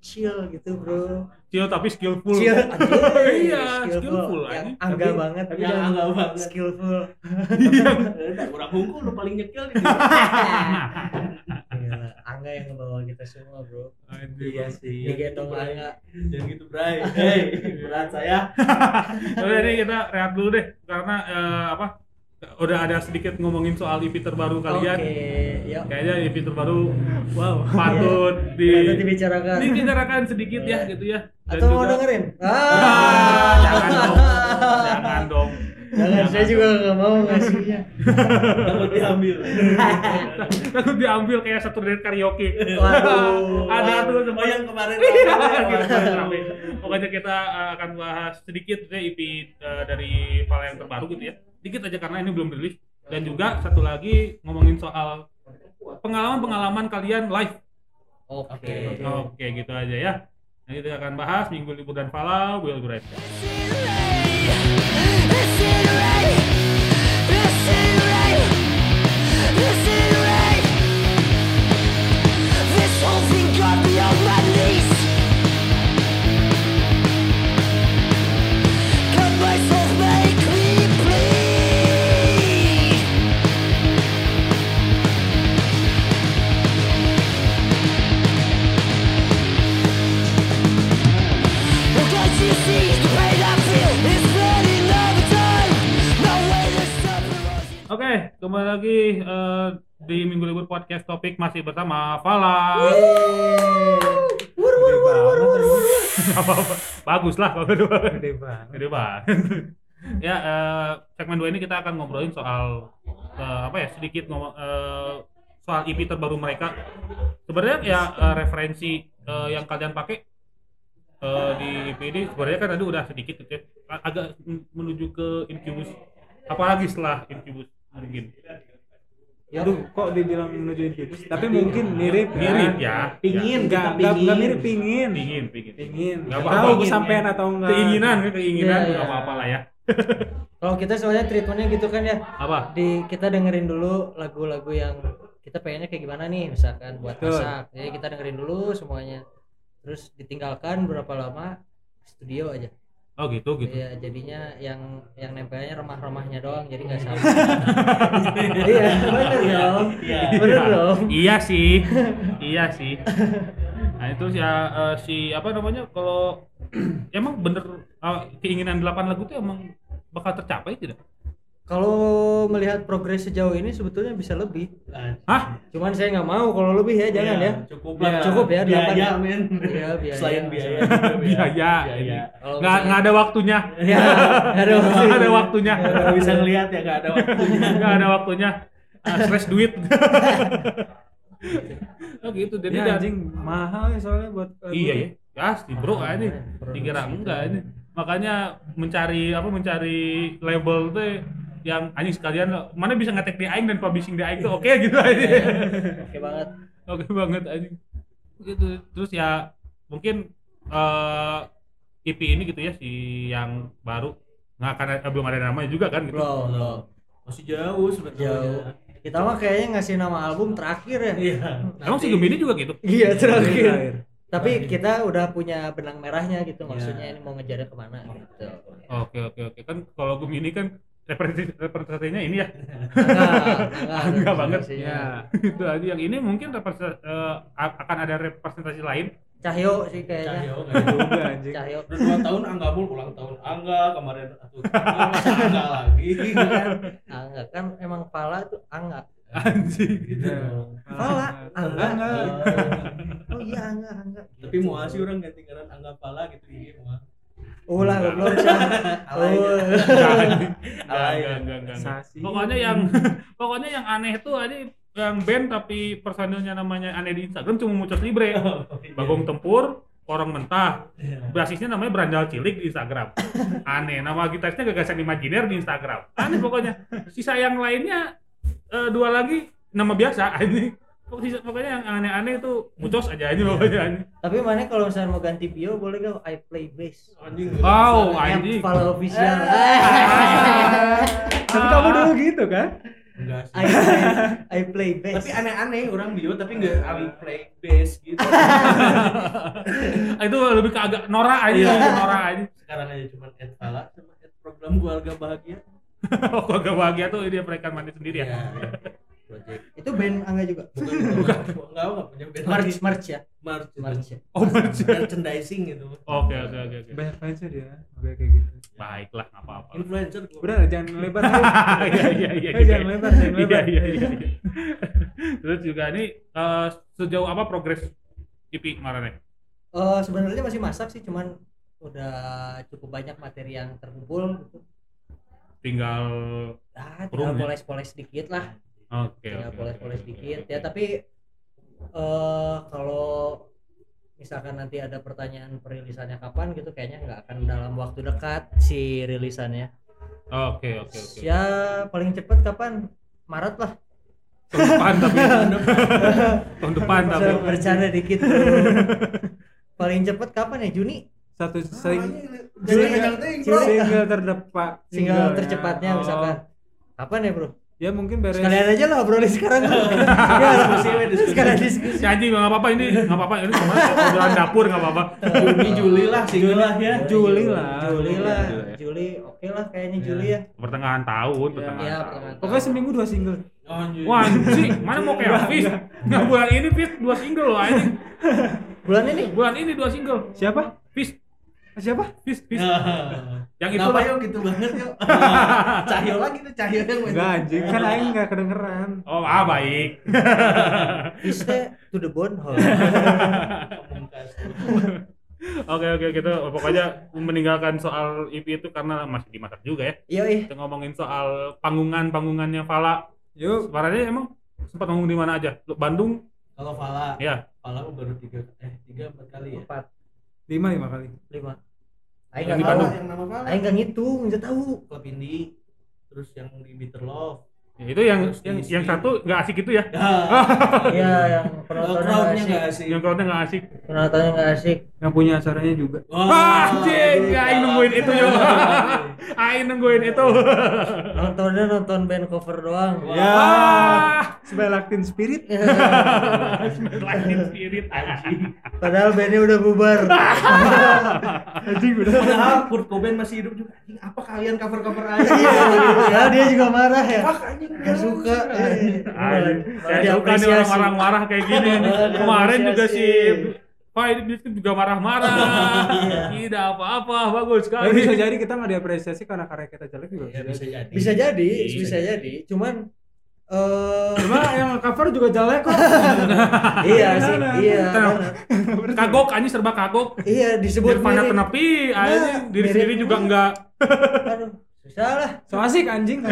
D: chill gitu bro
B: Chill tapi skillful.
D: chill anjing,
B: Iya, skillful,
D: yang
B: anjing.
D: angga
F: Tapi-
D: banget
F: tapi
C: Yang
D: yang
C: enggak banget.
D: skillful
C: Enggak kurang hukum lu paling nyekil gitu. di
B: Iya.
D: Gila, angga yang ngebawa kita semua bro
B: Anjing.
C: Iya sih.
D: digendong angga
C: Jangan gitu, Bray. Hey, berat saya.
B: Udah nih kita rehat dulu deh karena eh, apa? Udah ada sedikit ngomongin soal EP terbaru
D: oke Iya.
B: kalian.
D: yuk
B: Kayaknya EP terbaru
F: Wow.
B: patut di
D: Nanti dibicarakan
B: dibicarakan sedikit ya gitu ya. Dan
D: atau mau
B: juga-
D: dengerin
B: Ah, jangan dong.
D: ah
B: Jangan dong.
D: Jangan, saya juga nggak mau ngasihnya.
C: Takut diambil.
B: Takut diambil kayak satu dari karaoke.
D: Waduh.
B: ada tuh
C: Oh, yang kemarin. Iya.
B: Iya,
C: kemarin.
B: gitu, rame. Pokoknya kita uh, akan bahas sedikit deh EP uh, dari file yang terbaru gitu ya. Dikit aja karena ini belum rilis. Dan juga satu lagi ngomongin soal pengalaman-pengalaman kalian live.
D: Oke.
B: Oke, gitu aja ya. Nanti kita akan bahas Minggu Libur dan Falau, Will Bright.
G: Listen right, listen right, listen right. This whole thing got me on my knees. Can myself make me bleed? Well, can't you see the pain I feel is spreading over time? No way to stop the rush.
B: Oke, kembali lagi uh, di Minggu Libur Podcast Topik masih bersama Fala.
D: Wur wur wur wur wur wur.
B: Bagus lah kalau dua.
F: Gede banget.
B: Gede banget. ya, eh, segmen 2 ini kita akan ngobrolin soal eh, apa ya? Sedikit ngomong eh, soal IP terbaru mereka. Sebenarnya ya eh, referensi eh, yang kalian pakai eh, di IP ini sebenarnya kan tadi udah sedikit gitu ya. A- Agak m- menuju ke Incubus. Apalagi setelah Incubus mungkin.
D: Ya.
F: Aduh, kok dibilang menuju infus? Tapi mungkin mirip ya.
B: Mirip ya.
C: Pingin, kita
F: Enggak, enggak, enggak mirip
C: pingin.
F: pingin.
B: Pingin, pingin.
F: Pingin.
B: Nggak
F: Enggak
B: apa-apa.
F: tahu
C: Pingin,
F: kesampaian
C: ya.
F: atau enggak.
B: Keinginan, keinginan
D: Iya, iya.
B: nggak apa-apa lah ya.
D: Kalau Oh, kita soalnya treatmentnya gitu kan ya,
B: Apa?
D: di kita dengerin dulu lagu-lagu yang kita pengennya kayak gimana nih, misalkan buat
F: Betul.
D: masak. Jadi kita dengerin dulu semuanya, terus ditinggalkan berapa lama studio aja.
B: Oh gitu gitu.
D: Iya, jadinya yang yang nempelnya remah-remahnya doang, jadi nggak sama. iya, bener dong.
C: Iya.
D: Bener dong.
B: Iya sih, iya sih. Nah itu ya eh, si apa namanya kalau emang bener eh, keinginan 8 lagu itu emang bakal tercapai tidak?
D: Kalau melihat progres sejauh ini sebetulnya bisa lebih.
B: Hah?
D: Cuman saya nggak mau kalau lebih ya, jangan
C: Iya,
D: ya.
C: Cukup lah.
D: Cukup ya, delapan
C: biaya,
D: ya.
C: men.
D: Iya, biaya.
C: Selain biaya.
B: Biaya, iya. ini.
C: Biaya.
D: Kalau
B: Nggak
D: misalnya-
B: nggak ada waktunya.
D: Ya, ada waktu.
B: Nggak ada waktunya.
C: Nggak bisa ngelihat ya, nggak ada waktunya.
B: Nggak ada waktunya. Ah, stress duit. oh gitu jadi
F: Ya,
B: dan-
F: anjing mahal ya soalnya buat lagu.
B: Iya ya. Pasti bro
D: Mahal,
B: ini
D: bro.
B: dikira
D: Produksi
B: enggak
D: itu.
B: ini. Makanya mencari apa mencari label tuh yang anjing sekalian lo, mana bisa ngetek di aing dan publishing di aing tuh oke gitu
D: Iya,
B: aja.
D: Oke banget.
B: Oke banget anjing. Gitu. Terus ya mungkin eh IP ini gitu ya si yang baru nggak akan eh, belum ada namanya juga kan gitu.
D: belum belum
C: masih jauh sebetulnya
D: jauh kita mah kayaknya ngasih nama album terakhir ya
C: iya
B: Emang si
C: Nanti-
B: Gemini juga gitu.
D: iya terakhir
F: Terakhir.
D: tapi kita udah punya benang merahnya gitu maksudnya ini mau ngejarnya kemana gitu
B: Oke oke oke kan kalau Gemini kan representasi- representasinya ini ya Angga
D: enggak
B: banget.
F: Iya.
B: gitu aja yang ini mungkin representasi, eh, a- akan ada representasi lain
D: cahyo sih kayaknya
C: Cahyo, nggak ada.
F: Juga anjing.
D: cahyo
C: udah dua tahun Angga mul ulang tahun Angga kemarin atuh masa Angga lagi kan
D: angga kan emang pala tuh angga
B: anjing Iya.
C: gitu dong. Eh,
D: Pala.
F: Angga. Angga.
D: oh iya angga angga
C: tapi mau sih orang ganti ngaran Angga Pala gitu iya mau
D: ulah goblok sih oh
B: Enggak, enggak, enggak, enggak, enggak.
F: Sasi.
B: pokoknya yang pokoknya yang aneh tuh ini yang band tapi personilnya namanya aneh di Instagram cuma muncul libre bagong tempur orang mentah
C: Iya.
B: basisnya namanya berandal cilik di Instagram aneh nama gitarisnya gagasan imajiner di Instagram aneh pokoknya sisa yang lainnya eh, dua lagi nama biasa ini Pok- sisa- pokoknya yang aneh-aneh itu mucos aja
F: Iya.
B: aja pokoknya aneh.
D: tapi mana kalau misalnya mau ganti bio boleh gak I play bass
C: anjing
B: Wow, anjing.
D: App Pala official
F: Eh.
D: Eh.
F: Tapi kamu dulu gitu kan?
C: enggak
D: I
C: sih
D: play I play bass
C: tapi aneh-aneh orang bio tapi nggak I play bass gitu
B: Ah, itu lebih ke agak Nora aja
F: Iya.
B: agak Nora aja
C: sekarang aja cuma Ed Pala sama Ed program keluarga bahagia
B: aku Oh, agak bahagia tuh dia mereka mandi sendiri ya
F: Iya.
C: project
D: itu band angga juga
C: Iya. bukan bukan enggak enggak punya band
D: merch merch ya
C: March
D: merch ya.
B: oh merch
C: merchandising gitu
B: oke oke oke oke
F: Banyak fansnya dia. Oke kayak gitu.
B: baiklah nggak apa-apa
C: influencer gua.
F: Udah lah, jangan lebar. Ayo.
B: iya iya iya
F: Ayo, jangan lebar, jangan
B: iya
F: lebar.
B: iya iya iya. terus juga ini eh, sejauh apa progres EP kemarin ya
D: Eh, sebenarnya masih masak sih cuman udah cukup banyak materi yang terkumpul gitu
B: tinggal
D: ah
B: Kurung,
D: tinggal
B: ya?
D: poles-poles dikit lah
B: oke
D: tinggal
B: oke,
D: poles-poles
B: oke, oke,
D: Ya, dikit
B: oke.
D: ya tapi eh kalau misalkan nanti ada pertanyaan perilisannya kapan gitu kayaknya nggak akan dalam waktu dekat si rilisannya
B: oke oke oke
D: ya paling cepat kapan Maret lah
B: tahun depan tapi tahun depan Kan tapi
D: Bisa bercanda dikit bro. paling cepat kapan ya Juni
B: Iya,
F: Satu
D: iya,
F: sering
D: Juli, Juli.
F: single terdepan
D: single tercepatnya
B: oh.
D: misalkan kapan ya bro
F: Ya mungkin beres.
D: sekalian aja lah obrolin sekarang
B: Iya,
D: bro. ya,
C: Diskusi, we, diskusi.
D: sekalian diskusi
B: si Anji nggak apa-apa ini nggak apa-apa ini cuma obrolan dapur nggak apa-apa
C: Juni Juli lah single lah ya
F: Juli lah.
B: Juli
D: Juli lah
B: Iya. lah.
D: Juli oke lah kayaknya Juli ya
B: pertengahan tahun
F: Ya.
B: pertengahan
D: Iya,
B: tahun
D: pertengahan.
F: Pokoknya seminggu dua single.
C: Anjing.
B: Wah anjing, mana mau kayak Fis? Nah bulan ini Fis dua single loh anjing.
D: bulan ini
B: Bulan ini dua single.
F: Siapa?
B: Fis,
F: Ah, Siapa?
B: Fis, Fis.
C: Nah.
B: Yang itu
C: Kenapa
B: lah.
C: yuk gitu banget yuk? Nah, cahyo lagi tuh cahyo yang main.
F: Enggak anjing, kan aing enggak kedengeran.
B: Oh ah baik.
D: is the to the bone hole
C: Pemungkas.
B: Oke oke gitu. Pokoknya meninggalkan soal IP itu karena masih dimasak juga ya.
D: iya ih
B: Kita ngomongin soal panggungan panggungannya Fala.
F: Yuk,
B: Sebenarnya emang sempat ngomong di mana aja? Lu- Bandung.
C: Kalau Fala,
B: Ya.
C: Fala mah baru tiga eh tiga empat kali ya.
D: empat
F: lima lima kali.
D: lima Aing
B: Iya. Yang
D: nggak
B: di
D: tahu
B: Bandung.
C: yang nama Fala.
D: Aing nggak ngitung nggak tahu
C: Klub Indi, terus yang di Bitter Love.
B: Ya, itu yang
C: Terus
B: yang
C: diisi.
B: yang satu nggak asik itu ya.
D: iya yang
C: Kalau
D: penontonnya nggak asik
C: crowdnya nggak asik.
B: Yang crowdnya nggak asik.
D: penontonnya nggak asik
F: Yang punya acaranya juga.
B: Wah, anjing, Aing nungguin itu yuk. Aing nungguin itu.
D: nontonnya nonton band cover doang
F: Ya.
B: Ah.
F: Smell Actin Spirit.
B: Lightning Spirit anjing.
D: padahal bandnya udah bubar
F: Anjing udah.
C: Padahal Kurt Cobain masih hidup juga. Anjing, apa kalian cover-cover aja?
B: Iya,
D: ya dia juga marah ya
C: Fuck, anjing.
D: nggak suka eh.
B: Anjing. Saya suka nih
D: Diapresiasi.
B: orang-orang marah kayak gini. Kemarin juga si
D: Diapresiasi.
B: Pak itu juga marah-marah. Tidak apa-apa, bagus
F: Tapi Ya, bisa
B: sekali.
F: jadi kita nggak diapresiasi karena karya kita jelek juga
C: Ya,
F: Iya,
C: bisa
F: bisa jadi.
C: jadi.
D: bisa jadi
B: Iya, Bisa
D: bisa jadi cuman eh
F: Cuma yang cover juga jelek kok.
D: iya sih iya
B: Tenang.
D: benar.
F: Kan,
B: Kagok anjing serba kagok.
D: iya disebut
B: Nirvana
D: mirip. Nah,
B: kenepi, anjing diri
D: mirip.
B: sendiri juga enggak.
D: aduh susah lah
F: So asik anjing.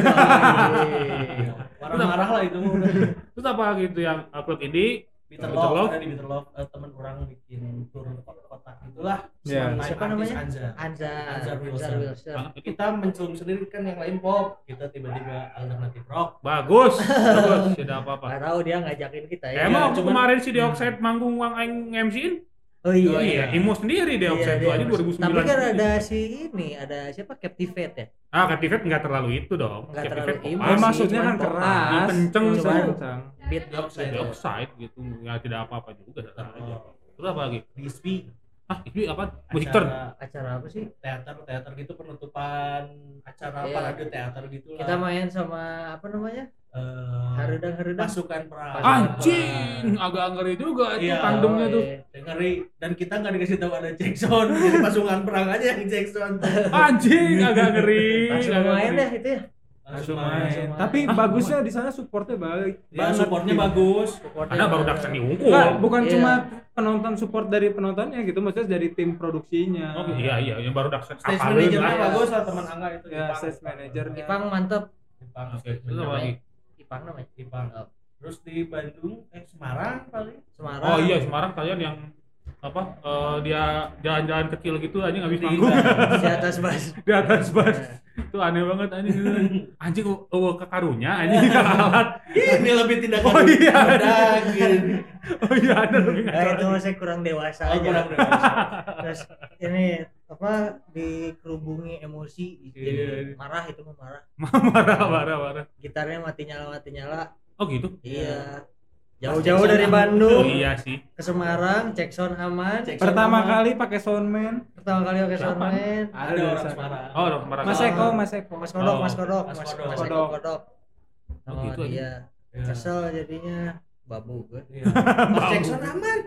C: Iya. Marah-marah lah itu. mah udah.
B: Terus apa gitu yang upload ini?
C: Bitter
B: Bitter
C: Love,
B: Love.
C: ada di Bitter Love eh, temen orang bikin tur kota-kota gitulah.
F: Iya.
C: Senang main
D: Siapa
C: artis
D: namanya?
C: Anjar.
D: Anzar
C: Anzar Wilson.
D: Wilson
C: Kita menculum sendiri kan yang lain pop, kita tiba-tiba alternatif rock.
B: Bagus, bagus, tidak apa-apa.
D: nggak tahu dia ngajakin kita ya
B: Emang waktu
C: cuman-
B: kemarin si Dioxide manggung uang aing MC-in,
D: oh Hmm. iya
B: Iya, Imo sendiri deh
D: Iya,
B: offset itu
D: dia kan
B: aja
D: masuk.
B: 2009.
D: tapi kan ada si ini ada siapa Captivate ya
B: Ah, Captivate nggak terlalu itu dong.
D: Nggak
B: Captivate
D: terlalu
F: Ya,
D: Masih,
B: pop-up,
F: maksudnya
D: cuman
F: kan
D: pop-up.
F: keras.
B: Dipenceng,
F: Cuman
D: cuman.
F: kenceng.
D: beat
C: Beat
D: offside
B: di offside gitu. Ya tidak apa-apa juga. sama aja.
D: Oh.
B: Terus apa lagi?
C: Bispi
B: Ah, itu apa? Musik turn.
D: acara apa sih
C: teater teater gitu penutupan acara
D: Iya.
C: parade teater gitu lah
D: kita
B: Iya.
D: main sama apa namanya
C: Eh,
D: harudang harudang
C: pasukan perang
D: Ah,
B: Anjing, agak ngeri juga itu
C: Iya,
D: Oh,
B: tandemnya tuh.
C: ngeri dan kita nggak dikasih tahu ada Jackson jadi pasukan perang aja yang Jackson
B: Anjing, agak ngeri.
D: langsung
B: agak
D: main
B: ngeri.
D: deh itu ya
F: Langsung main.
D: main.
F: Tapi bagusnya di sana supportnya baik. Iya.
C: Ya,
F: banget.
C: supportnya bagus.
B: Iya. Karena
F: Iya.
B: baru datang dihukum.
F: Nggak, bukan
D: Iya.
F: cuma penonton support dari penontonnya gitu, maksudnya dari tim produksinya.
B: Oh iya iya, yang baru daksan
C: Stage
B: kapal
C: manajernya
B: lah.
D: ya.
C: bagus lah teman Angga itu.
F: Ya,
C: Ipang.
F: sales manajernya.
D: Ipang mantep
C: Ipang.
B: Oke,
C: stage
B: terus apa
C: manajernya.
B: lagi?
D: Ipang namanya
C: Ipang.
D: Oh.
C: Terus di Bandung, eh Semarang paling.
D: Semarang
B: Oh iya, Semarang kalian yang apa eh, dia jalan-jalan kecil gitu anjing habis
C: Di-
F: Iya.
B: manggung
D: di atas bas
B: di atas bus. Itu aneh banget anjing. Anjing oh, kekarunya anjing alat.
C: Ini lebih tindakan
B: Oh, iya.
C: budak, gitu.
B: Oh iya, ada lebih
D: nah,
B: kacau.
D: itu masih kurang dewasa aja
C: Oh, kurang dewasa.
D: terus ini apa dikerubungi emosi jadi
B: Iya.
D: marah itu mah marah
B: marah marah marah.
D: gitarnya mati nyala mati nyala
B: Oh gitu.
D: iya
C: Jackson
D: jauh-jauh dari
C: aman.
B: Oh
D: Bandung
B: iya sih.
D: ke Semarang cek sound aman
C: Jackson
F: Pertama
C: sama-
F: kali pakai soundman.
D: pertama kali pakai
B: Siapa?
D: soundman
C: ada orang
F: di sana.
C: Semarang.
B: Oh, orang Semarang.
F: Mas Eko, Mas Eko.
D: Mas Kodok,
B: Oh,
D: Mas Kodok,
C: Mas
D: Mas Mas
C: Kodok.
D: Eko
F: Kodok.
D: Kodok.
B: Oh,
D: Oh,
B: gitu aja.
D: iya.
C: Iya.
D: Kesel jadinya babu gue.
C: Iya. Jackson aman.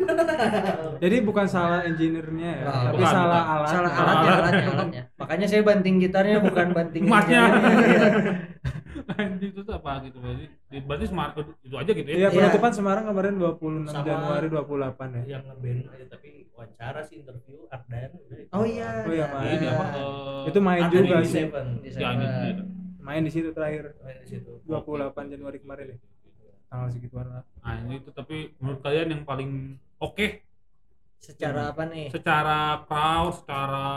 F: Jadi bukan salah engineer-nya ya,
D: Nah, Bukan,
F: tapi
B: bukan.
F: salah alat.
D: Salah
B: alat.
D: alatnya, alatnya, alatnya. Makanya saya banting gitarnya bukan banting
B: Emasnya.
D: engineer-nya, iya.
B: Anjing itu tuh apa gitu berarti. Berarti Semarang itu aja gitu ya.
F: Iya, penutupan Semarang kemarin 26
C: Sama- Iya.
F: Januari 28 ya.
C: Yang ngeband aja tapi wawancara sih interview Ardan. udah itu.
D: Oh iya.
F: Oh, iya,
D: ada.
F: Pak.
B: Ini apa? eh,
F: Itu main
C: Ardan
F: juga
C: di
F: sih.
C: Seven.
D: Di
B: ya,
D: sana.
B: ini, ini.
F: Main di situ terakhir
C: Main di situ.
F: 28 Januari kemarin ya. Tanggal segituan lah.
B: Nah, ini itu tapi menurut kalian yang paling oke
D: Secara apa nih?
B: secara crowd, secara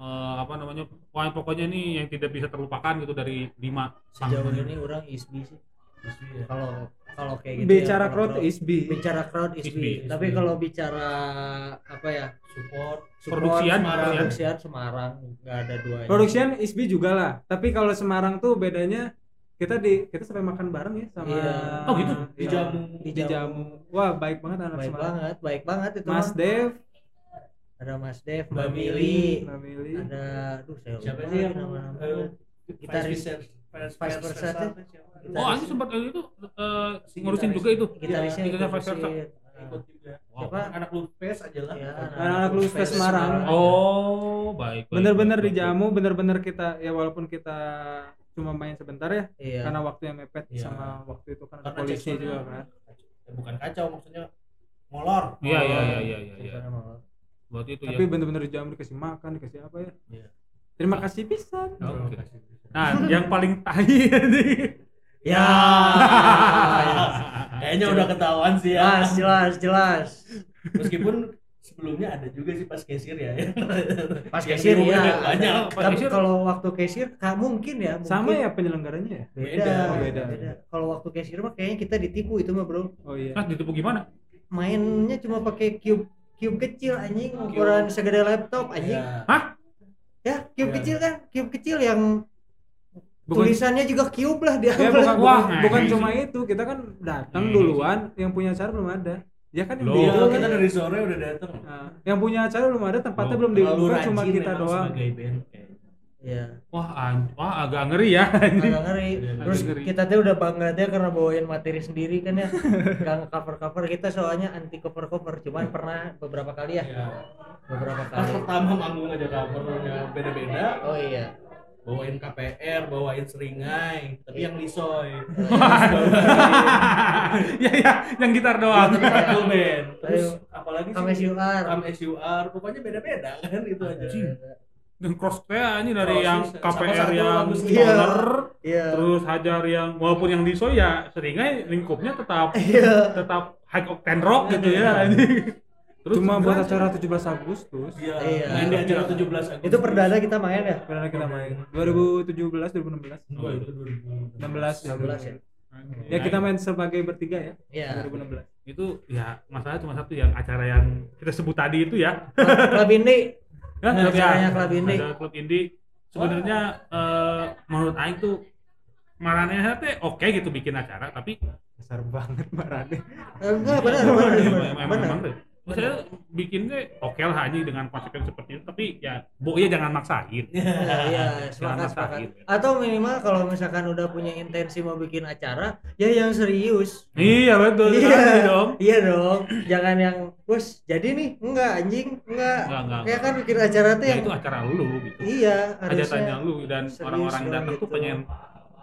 B: eh, apa namanya? Wah, pokoknya nih yang tidak bisa terlupakan gitu dari lima
D: Sejauh
B: tanggung.
D: ini orang ISB sih.
C: Isu ya.
D: Kalau kalau kayak gitu. ya,
F: Bicara
D: kalau
F: crowd is B.
D: bicara crowd
B: ISB.
D: ISB. Tapi kalau bicara apa ya?
C: Support.
B: Produksian,
D: Semarang,
B: produksian.
D: produksian Semarang nggak ada duanya.
F: Produksian is B juga lah, tapi kalau Semarang tuh bedanya kita di kita sampai makan bareng ya sama
D: Iya.
B: Oh, gitu?
F: Iya.
C: Dijamu.
F: Dijamu. Wah, baik banget anak
D: baik
F: Semarang.
D: banget, baik banget itu.
F: Mas
D: mah.
F: Dev,
D: ada Mas Dev,
C: Mbak
D: Mbak
C: Mili,
D: Mili,
F: Mbak Mili.
D: ada aduh saya
C: Siapa
D: lupa
C: sih yang
D: lagi nama-nama.
C: eh,
D: Gitaris.
C: Vice Versa-
D: Vice
C: Vice
D: Versa
C: Versa
D: tuh.
C: tuh siapa?
B: Oh, anjing sempat eh, itu eh, ngurusin juga itu.
D: gitarisnya
B: Iya,
D: itu
B: gitarisnya Vice versa.
D: Rusin.
C: Ikut juga.
B: Wow.
D: Siapa?
C: Anak lu face aja lah.
D: Iya,
F: Anak-anak lu Space Semarang.
B: Oh, baik. baik,
F: Bener-bener
B: baik, baik.
F: dijamu, bener-bener kita ya walaupun kita cuma main sebentar ya,
D: Iya.
F: karena waktunya mepet
C: Iya.
F: sama waktu itu kan ada
C: Karena
F: polisi
C: Jacksonnya-
F: juga kan.
C: Ya, bukan kacau maksudnya molor.
B: Iya, iya, iya, iya, iya, iya.
D: Suasana malam.
B: Berarti itu
F: Tapi
B: ya.
F: bener-bener dijamu dikasih makan, dikasih apa ya?
C: Iya.
F: Terima kasih pisan.
B: Oke. Nah, yang paling tai ini.
D: Ya.
F: Iya.
C: Kayaknya udah ketahuan sih ya.
D: jelas, jelas, jelas.
C: Meskipun sebelumnya ada juga sih pas cashier ya.
D: Pas
C: Yang
D: cashier ya.
C: diumumin yang banyak.
B: Pas
D: Tapi
B: cashier.
D: kalau waktu cashier nggak mungkin ya, mungkin.
F: Sama ya penyelenggaranya ya?
D: Beda,
C: Oh,
F: beda.
D: beda. Kalau waktu cashier mah kayaknya kita ditipu itu mah, Bro.
F: Oh iya.
B: Mas ditipu gimana?
D: Mainnya cuma pakai cube cube kecil anjing ukuran segede laptop anjing.
C: Iya.
D: Ya, cube
C: Iya.
D: kecil kan, cube kecil yang
F: Bukan
D: tulisannya juga cube lah dia.
F: Ya bukan,
B: Wah,
F: bukan,
B: nah,
F: bukan
B: ini
F: cuma itu, kita kan datang
B: Hmm.
F: duluan, yang punya acara belum ada. Ya kan yang
B: Loh.
F: dia
C: Iya,
F: kan.
C: kita dari sore udah datang.
F: Nah, yang punya acara belum ada, tempatnya
B: Loh,
F: belum dibuka, cuma kita
C: memang
F: doang.
C: sebagai band kayaknya.
D: Iya.
B: Wah, an- wah agak ngeri ya. anjing.
D: agak ngeri
C: Agak
D: terus
B: ngeri.
D: kita tuh udah bangga deh karena bawain materi sendiri kan ya nggak cover cover kita soalnya anti cover cover cuman pernah beberapa kali ya
C: Iya.
D: beberapa
C: Pas
D: kali
C: pertama manggung aja covernya beda-beda,
D: oh iya
C: bawain KPR, bawain seringai, tapi yang lisoy.
B: ya ya, yang gitar
C: Iya,
B: doang.
C: tapi kan full band. Terus
D: Ayo.
C: apalagi
D: sama
C: sih?
D: SUR
C: Am SUR, pokoknya beda-beda kan itu aja.
B: Dan crossnya ini dari
C: Crosses,
B: yang
C: sama
B: KPR
C: satu
B: yang
C: lagu
D: Iya.
B: Stoner,
D: iya
B: terus Hajar yang walaupun yang diso ya seringnya lingkupnya tetap
D: iya
B: tetap high octane rock gitu ya. anjing. Terus
F: Cuma buat
B: sebenarnya-
F: acara 17 Agustus.
C: Iya.
D: Iya.
C: Main di acara 17 Agustus.
D: itu perdana kita main ya
F: Pernah kita main 2017 2016.
B: Oh,
C: Enggak, Oh, itu 2016.
F: 16
D: 16 ya?
F: Ya
B: Iya.
F: kita main sebagai bertiga ya.
D: iya
F: 2016.
B: Nah, itu ya masalah cuma satu yang acara yang kita sebut tadi itu ya
D: Klub Indi
B: Hah,
D: Nah,
B: ya,
D: acaranya klub indie.
B: ada klub indie sebenarnya eh, menurut Aing tuh Marane teh oke gitu bikin acara tapi
F: besar banget marane
D: Eh,
B: Iya,
D: enggak benar benar,
B: emang
D: benar
B: emang-
D: benar
B: emang deh. Maksudnya bikinnya oke lah aja dengan konsep yang seperti itu tapi ya bu ya jangan maksain.
D: Iya, iya,
B: Jangan
D: sepakat, sepakat.
B: maksain.
D: Atau minimal kalau misalkan udah punya intensi mau bikin acara, ya yang serius.
B: Iya betul
D: Iya.
B: sekali dong.
D: Iya dong, jangan yang, bos jadi nih, enggak anjing, enggak.
B: Enggak, enggak,
D: Ya
B: enggak.
D: kan bikin acara tuh
B: Ya
D: yang,
B: itu acara lu gitu.
D: iya
B: Aja
D: harusnya.
B: tanya lu dan
D: serius
B: orang-orang yang
D: dong
B: datang tuh
D: gitu.
B: pengen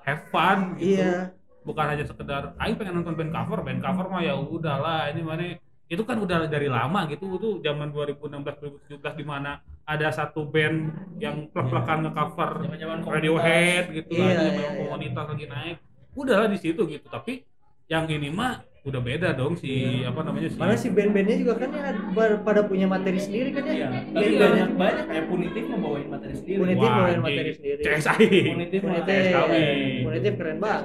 B: have fun gitu.
D: Iya,
B: Bukan hanya sekedar aing pengen nonton band cover, band cover mah ya udahlah ini mana itu kan udah dari lama gitu itu zaman 2016 2017 di mana ada satu band yang plek-plekan ngecover
C: Zaman-zaman
B: Radiohead gitu
D: Iya,
B: lagi
D: iya, iya.
B: komunitas lagi naik udahlah di situ gitu tapi yang ini mah udah beda dong si apa namanya si
D: Iya. mana sih band-bandnya juga kan ya ber- pada punya materi sendiri kan ya.
C: Iya, tapi
D: Band-band
C: banyak banyak ya punitif membawain materi sendiri.
D: Punitif.
B: Wah,
D: bawain
B: anjing.
D: materi sendiri.
B: CS aing.
C: Punitif,
D: Punitif,
C: punitif.
B: SKW.
D: Punitif keren banget.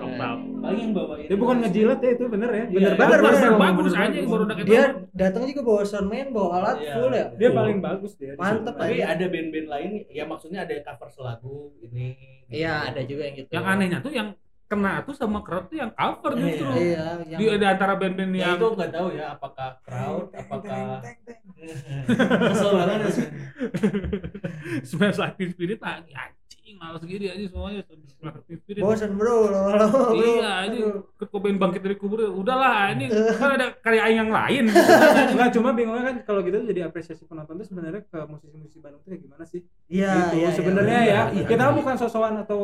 C: Paling yang bawain.
F: itu bukan ngejilat ya itu bener ya
D: Bener
C: Iya,
B: Bagus,
D: banget, bener.
B: bagus,
F: Bener
B: bagus
F: banget.
B: anjing baru udah
D: Dia datang juga bawa soundman, bawa alat
C: Iya.
D: full ya.
F: dia paling bagus dia di
D: Mantep
F: situ.
C: Tapi
D: aja.
C: ada band-band lain ya maksudnya ada yang cover selagu ini.
D: Iya, ada juga yang gitu.
B: yang anehnya tuh yang kena tuh sama crowd tuh yang cover
C: Iya,
B: justru
D: Iya, yang
B: di ada antara band-band
C: Ya,
B: yang
C: itu nggak tahu ya apakah crowd apakah kesel banget ya sih.
B: smash like Teen spirit ah, anjing malas gini aja semuanya Smash Like Teen spirit
D: bosen bro lama-lama bro
B: iya ini
D: Aduh.
B: Kurt Cobain bangkit dari kubur udahlah ini kan ada karya aing yang lain Anjing.
F: Enggak, cuma bingungnya kan kalau gitu jadi apresiasi penonton tuh sebenarnya ke musisi-musisi Bandung tuh kayak gimana sih?
D: iya
F: gitu
D: iya,
F: sebenarnya
D: iya.
F: ya.
C: iya,
F: kita
C: iya.
F: bukan sosokan atau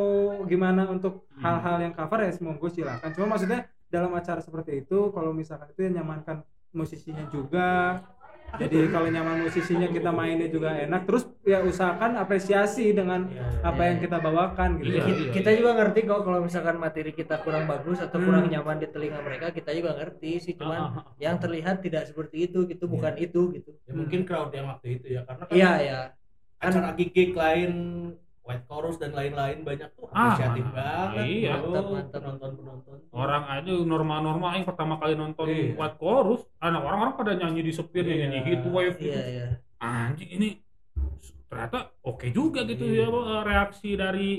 F: gimana untuk
B: Hmm.
F: hal-hal yang cover ya semoga silakan. Cuma maksudnya dalam acara seperti itu kalau misalkan itu yang nyamankan musisinya juga. Jadi kalau nyaman musisinya kita mainnya juga enak. Terus ya usahakan apresiasi dengan apa
D: iya.
F: yang kita bawakan
B: Iya.
F: gitu. ya.
D: Ki- kita juga ngerti kok kalau misalkan materi kita kurang bagus atau kurang nyaman di telinga mereka kita juga ngerti sih cuman
B: Hmm. Ah, Iya.
D: yang terlihat tidak seperti itu gitu bukan itu gitu
C: Ya, mungkin crowd yang waktu itu ya karena kan
D: iya iya
C: acara gig lain white chorus dan lain-lain banyak tuh
B: Ah,
C: apresiatif
B: mana-
C: banget.
B: iya.
D: Mantap,
C: bro,
D: mantap.
C: penonton-penonton.
B: orang aja normal-normal aing pertama kali nonton
C: Iya.
B: White Chorus anak orang-orang pada nyanyi di setir
C: Iya.
B: nyanyi hit wave gitu
D: iya iya
B: anjing ini ternyata oke juga gitu ya eh, reaksi dari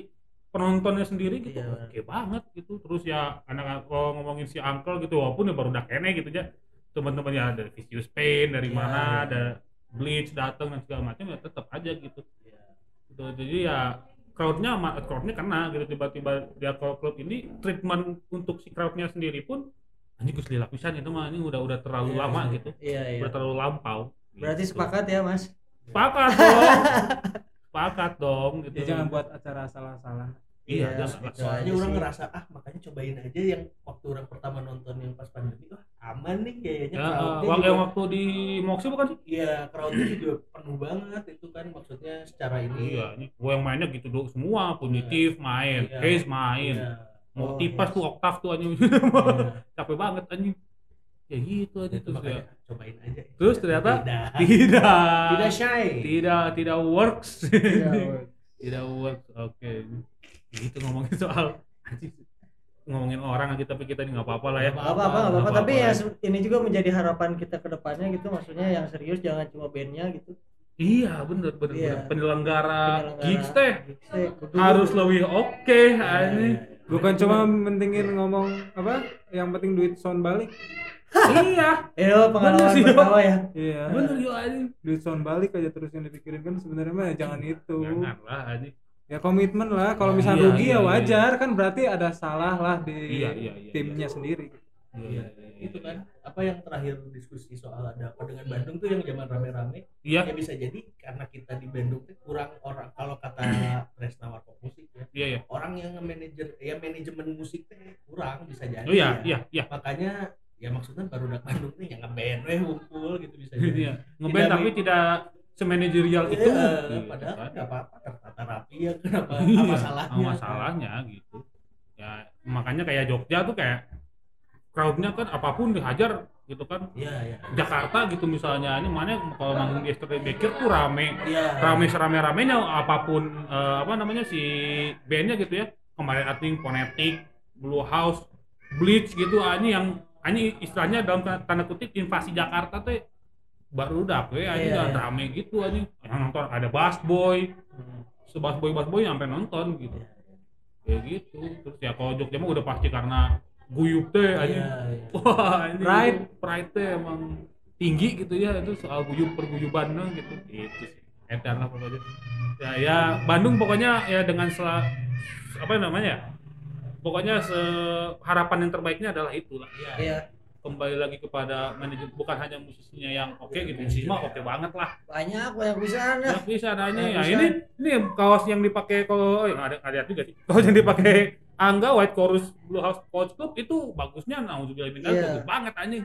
B: penontonnya sendiri gitu
D: Iya,
B: oke banget gitu terus ya anak kalau ngomongin si uncle gitu walaupun ya baru udah kene gitu ya teman-teman ya dari Vicious Pain dari
D: Iya,
B: mana
D: iya.
B: ada Bleach datang dan segala macam ya tetap aja gitu
C: Iya.
B: Gitu, jadi ya crowdnya ma- crowdnya kena gitu tiba-tiba dia kalau club ini treatment untuk si crowdnya sendiri pun anjing gue selilak pisan itu mah ini udah udah terlalu
D: Iya,
B: lama
D: iya.
B: gitu
D: iya iya
B: udah terlalu lampau
D: berarti
B: Gitu.
D: sepakat ya mas
B: Sepakat dong. Sepakat dong gitu.
F: Ya jangan buat acara salah-salah.
B: Iya,
D: Iya,
B: jangan.
D: itu
C: soalnya
D: aja
C: orang
D: sih.
C: ngerasa ah makanya cobain aja yang waktu orang pertama nonton yang pas pandemi wah aman nih kayaknya
B: Ya, eh,
C: crowdnya
B: waktu
C: juga-
B: waktu di Moksi bukan sih?
C: iya crowdnya juga penuh banget itu kan maksudnya secara ini
B: Iya, ini gue yang mainnya gitu dulu semua, punitif main,
C: Iya.
B: case main,
C: Iya.
B: mau
D: Oh,
B: tipas
D: iya.
B: tuh oktav tuh anjing. Capek banget anjing. Ya gitu aja
C: itu
B: terus
C: makanya
B: ya.
C: cobain aja
B: Terus ternyata
C: tidak
B: tidak
C: tidak shy
B: tidak tidak works.
D: Iya,
B: tidak works. Oke. Gitu ngomongin soal anjing. ngomongin orang aja tapi kita ini nggak apa-apa lah ya.
D: Gak apa-apa, gak apa-apa.
B: Gak
D: Tapi
B: apa-apa.
D: ya se- ini juga menjadi harapan kita ke depannya gitu. Maksudnya yang serius jangan cuma bandnya gitu.
B: Iya, bener bener,
D: Iya.
B: bener. Penyelenggara,
D: Penyelenggara
B: Nah, gigs teh
D: gigs teh kudu-
B: harus
C: Iya.
B: lebih oke anjing.
F: Bukan cuma mentingin ngomong apa, yang penting duit sound balik.
B: iya,
D: Eh, lo pengalaman
B: Bener sih, lo.
D: pertama ya.
F: Iya.
B: bener yo anjing.
F: duit sound balik aja terus yang dipikirin kan sebenarnya mah jangan itu
B: Janganlah anjing.
F: ya komitmen lah kalau
B: Iya,
F: misalnya rugi
B: iya,
F: ya
B: iya.
F: wajar kan berarti ada salah lah di
B: Iya, iya, iya,
F: timnya sendiri
B: Iya,
C: itu kan apa yang terakhir diskusi soal ada apa dengan Bandung tuh yang zaman rame-rame
B: Iya,
C: ya bisa jadi karena kita di Bandung tuh kurang orang kalau kata Resna Warkop musik ya
B: iya, iya.
C: orang yang manajer ya manajemen musik teh kurang bisa jadi ya.
B: Oh iya, iya, iya.
C: makanya ya maksudnya baru udah Bandung nih yang ngeband weh ngumpul gitu bisa jadi
B: Iya. Ngeband
C: Tidak
B: tapi
C: mi-
B: tidak semanajerial
C: Iya,
B: itu.
C: eh,
B: Gitu
C: padahal
B: kan.
C: nggak apa-apa tertata rapi ya kenapa
B: Iya,
C: apa salahnya
B: apa salahnya gitu. Ya, makanya kayak Jogja tuh kayak crowdnya kan apapun dihajar gitu kan.
C: iya iya
B: Jakarta gitu misalnya ini mana kalau manggung di Yesterday Baker tuh rame
C: iya
B: rame serame ramenya apapun eh, apa namanya si bandnya gitu ya kemarin Atling Ponetik Blue House Bleach gitu ani yang ani istilahnya dalam tanda kutip invasi Jakarta teh baru udah ya ani udah ah,
D: Iya, iya. Hmm.
B: rame gitu ani yang nonton ada Bass Boy sebas boy bas boy sampai nonton gitu
D: Iya.
B: kayak gitu terus ya kalau Jogja mah udah pasti karena guyup teh ah, aja
C: Iya, iya.
B: wah ini
F: Pride.
B: pride teh emang tinggi gitu ya itu soal guyup perguyubannya gitu itu sih edan lah pokoknya ya, ya Bandung pokoknya ya dengan sela, apa namanya pokoknya se- harapan yang terbaiknya adalah itulah ya
D: Iya,
B: kembali lagi kepada manajemen bukan hanya musisinya yang oke gitu musisi mah oke banget lah
D: banyak banyak bisa
B: Ya, bisa adanya ya.
D: Iya, Bisa.
B: Ini ini kaos yang dipakai kalau oh, ya, nggak ada nggak lihat juga sih. Kaos
D: Iya.
B: yang dipakai Angga White Chorus Blue House Coach Club itu bagusnya nah, nauzubillah min dzalik,
D: Iya.
B: bagus banget anjing.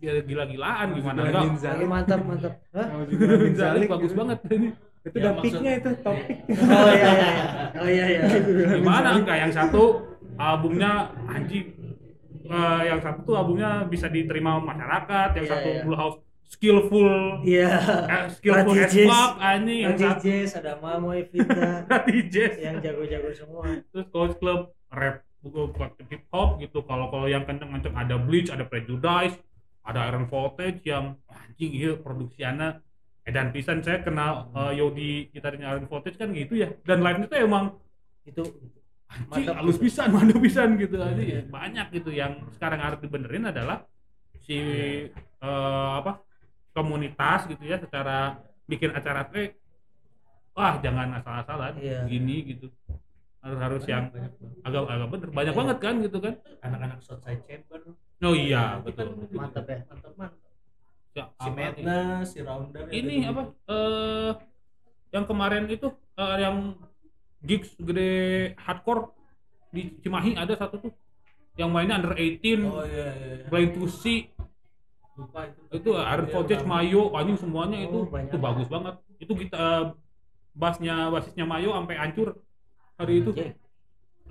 B: Dia gila-gilaan Kan gimana enggak.
F: Nauzubillah min dzalik.
D: Iya, mantap mantap Hah?
F: Nauzubillah min dzalik,
B: bagus
F: gitu.
B: banget ini.
F: Itu
C: Ya,
F: udah
C: maksud-
F: peak-nya itu topik.
D: oh iya iya iya. oh iya iya
B: Gimana Angga yang satu albumnya anjing Eh, yang satu tuh albumnya bisa diterima masyarakat, yang
D: Iya,
B: satu
D: iya.
B: Blue House skillful
D: iya
B: eh, skillful as
D: Rati Jazz.
B: fuck anjing yang
D: Ada
B: satu
D: Jazz, ada Mamoy, Vita,
B: Rati Jazz.
D: yang jago-jago semua.
B: terus coach club rap buku hip hop gitu kalau kalau yang kenceng kenceng ada bleach ada prejudice ada iron voltage yang anjing iya produksiannya eh dan pisan saya kenal
D: Hmm.
B: eh, Yodi gitarnya iron voltage kan gitu ya dan live itu emang
D: Itu
B: anjing
D: Mantap. Iya,
B: halus pisan mantap pisan gitu aja ya. banyak gitu yang sekarang harus dibenerin adalah si
D: Iya.
B: eh, apa komunitas gitu ya secara bikin acara teh wah jangan asal-asalan
D: Iya.
B: gini gitu harus harus yang ya. agak agak bener banyak banget kan gitu kan
C: anak-anak Southside Chamber
B: oh iya
C: Itu
B: betul
C: kan
D: mantap ya.
C: mantap mantap
B: Ya,
C: si
B: apa
C: Metna si Rounder ya
B: ini? ini apa eh yang kemarin itu eh, yang gigs gede hardcore di Cimahi ada satu tuh yang mainnya under 18
C: oh iya iya iya.
B: Blind to See
C: lupa itu
B: itu Aaron
C: Iya,
B: Voltage
C: Rounder.
B: Mayo anjing semuanya itu
D: Oh, banyak.
B: itu bagus banget itu kita eh, bassnya basisnya Mayo sampai hancur hari itu
D: Anjing.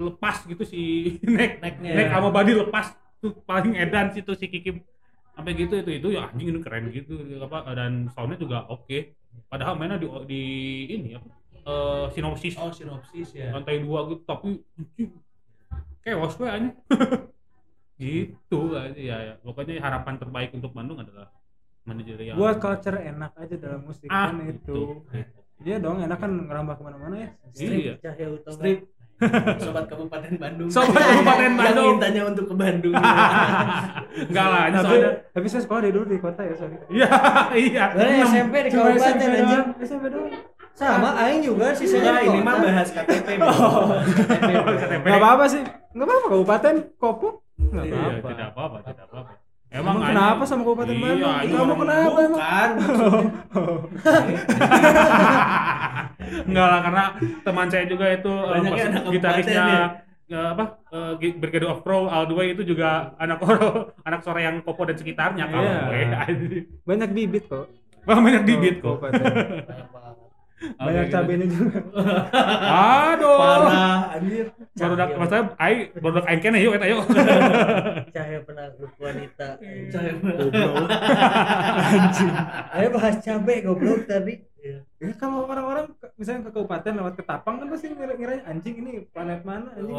B: lepas gitu si neck
C: Necknya.
B: neck sama body lepas tuh paling edan situ si Kiki sampai gitu itu itu ya anjing ini keren gitu apa dan soundnya juga oke padahal mainnya di di ini apa eh, sinopsis
C: oh sinopsis ya
B: lantai dua gitu tapi anjing, chaos we anjing gitu aja ya, ya. pokoknya harapan terbaik untuk Bandung adalah manajer yang
F: Buat culture enak aja dalam musik
B: Iya. ah
F: kan itu.
B: itu
F: Iya dong, enak kan ngerambah kemana-mana ya.
B: iya
D: Cahya Utama.
F: Strip.
C: sobat kabupaten Bandung
B: Sobat Kabupaten Bandung.
C: yang mintanya untuk ke Bandung
B: enggak lah ini
F: Tapi,
B: soalnya
F: tapi saya sekolah dari dulu di kota ya, sorry.
B: iya iya
D: Lah, SMP di
F: Cuma
D: kabupaten
F: SMP
D: anjing.
F: doang, SMP doang.
D: Sama aing juga sisanya
C: Nah,
D: di
C: ini
D: kota.
C: mah bahas KTP oh. KTP, bro.
B: KTP.
F: Gak apa-apa sih. Gak apa-apa kabupaten Kopok. Gak
B: Iya,
F: apa-apa.
B: tidak apa-apa, tidak apa-apa.
F: Emang
B: anjing-
F: kenapa sama Kabupaten
B: Iya,
F: Bandung?
B: anjing
F: Kamu
B: orang-
F: kenapa emang?
C: bukan maksudnya
B: Enggak lah karena teman saya juga itu eh,
C: Banyaknya
B: pas-
C: anak ya,
B: gitarisnya
C: kabupaten
B: eh, apa eh, Gi- Brigade of Pro All the Way itu juga anak oro, anak sore yang kopo dan sekitarnya kalau
F: Iya.
B: gue anjing.
F: Banyak bibit kok.
B: Bang banyak bibit kok.
F: Kabupaten.
B: Oke,
F: Banyak
B: gitu.
F: cabenya juga.
B: Aduh.
C: parah Iya. anjir
B: Baru dak maksudnya ai baru dak aing kene yuk eta yuk.
D: Cahaya penakluk wanita. anjing.
C: Cahaya.
D: Ayo bahas cabe goblok tadi.
F: Ya kalau orang-orang ke- misalnya ke kabupaten lewat Ketapang kan pasti ngira ngiranya anjing ini planet mana anjing.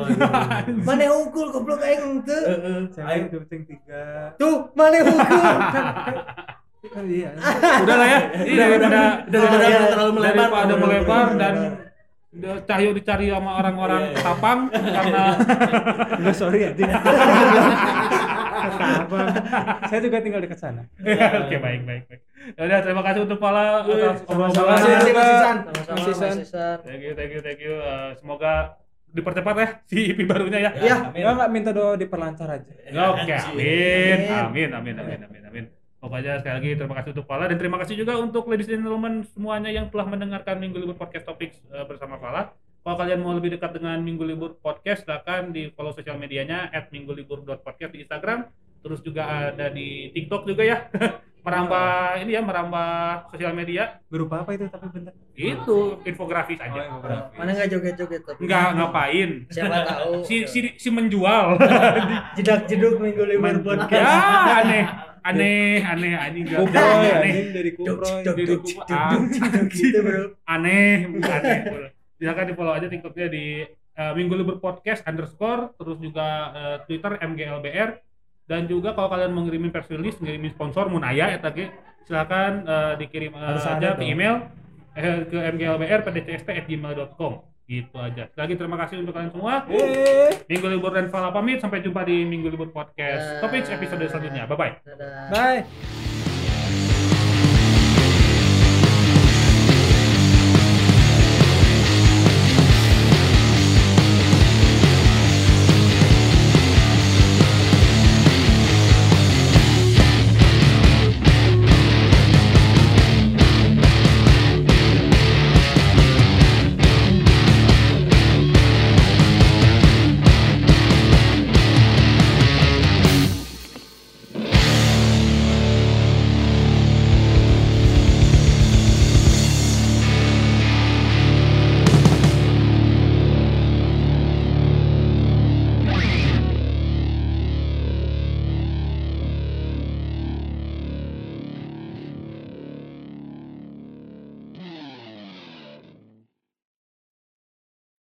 D: Mana unggul goblok aing
C: Eh,
D: teu.
C: eh,
F: Saya
C: aing
F: udah penting tiga.
D: Tuh, mana unggul.
F: Kan kan- kan iya.
B: Udah lah ya. Ini daripada
C: udah udah udah terlalu melebar
B: daripada melebar dan
D: melebar.
B: de- Cahyo dicari sama orang-orang
C: Iya, iya.
B: tapang karena
F: Enggak sorry ya. Din. Ketapang. Saya juga tinggal dekat sana.
B: Oke baik baik baik. Ya udah terima kasih untuk Pala atas
F: Sama-sama.
C: Masih,
B: obrolan.
C: masih, masih, San.
D: Sama-sama
F: Mas Isan.
D: Mas Isan.
B: Thank you thank you thank you. Eh, semoga dipercepat ya si IP barunya ya.
D: Ya.
C: amin.
F: Enggak enggak minta doa diperlancar aja.
B: Oke, amin. Amin, amin, amin, amin, amin. Pokoknya sekali lagi terima kasih untuk Pala dan terima kasih juga untuk ladies and gentlemen semuanya yang telah mendengarkan Minggu Libur Podcast Topics eh, bersama Pala. Kalau kalian mau lebih dekat dengan Minggu Libur Podcast, silakan di follow sosial medianya at minggulibur.podcast di Instagram. Terus juga ada di TikTok juga ya. merambah ini ya, merambah sosial media.
F: Berupa apa itu tapi bentar.
B: Itu infografis aja.
D: Mana enggak joget-joget tapi.
B: Nggak ngapain.
D: Siapa tahu.
B: Si, si, si menjual.
D: jedak jeduk minggu libur
B: Men-
D: podcast.
B: ya aneh aneh aneh anjing gak
F: Kupro
B: aneh
F: ya,
B: aneh
F: Din, dari Kupro.
D: Dok,
B: Jadi
D: dok,
B: kupu-
D: dok,
B: ah,
D: dok, dok, gitu, bro.
B: aneh aneh silakan di follow aja tiktoknya di eh, minggu libur podcast underscore terus juga eh, twitter mglbr dan juga kalau kalian mau ngirimin press release ngirimin sponsor mun aya eta ge silakan eh, dikirim eh,
F: Harus ada
B: aja ke
F: dong.
B: email eh, ke mglbr gitu aja lagi terima kasih untuk kalian semua
F: Eh,
B: minggu libur dan Fala pamit sampai jumpa di minggu libur podcast
D: Dadah.
B: topik episode selanjutnya bye bye
D: Dadah.
F: bye.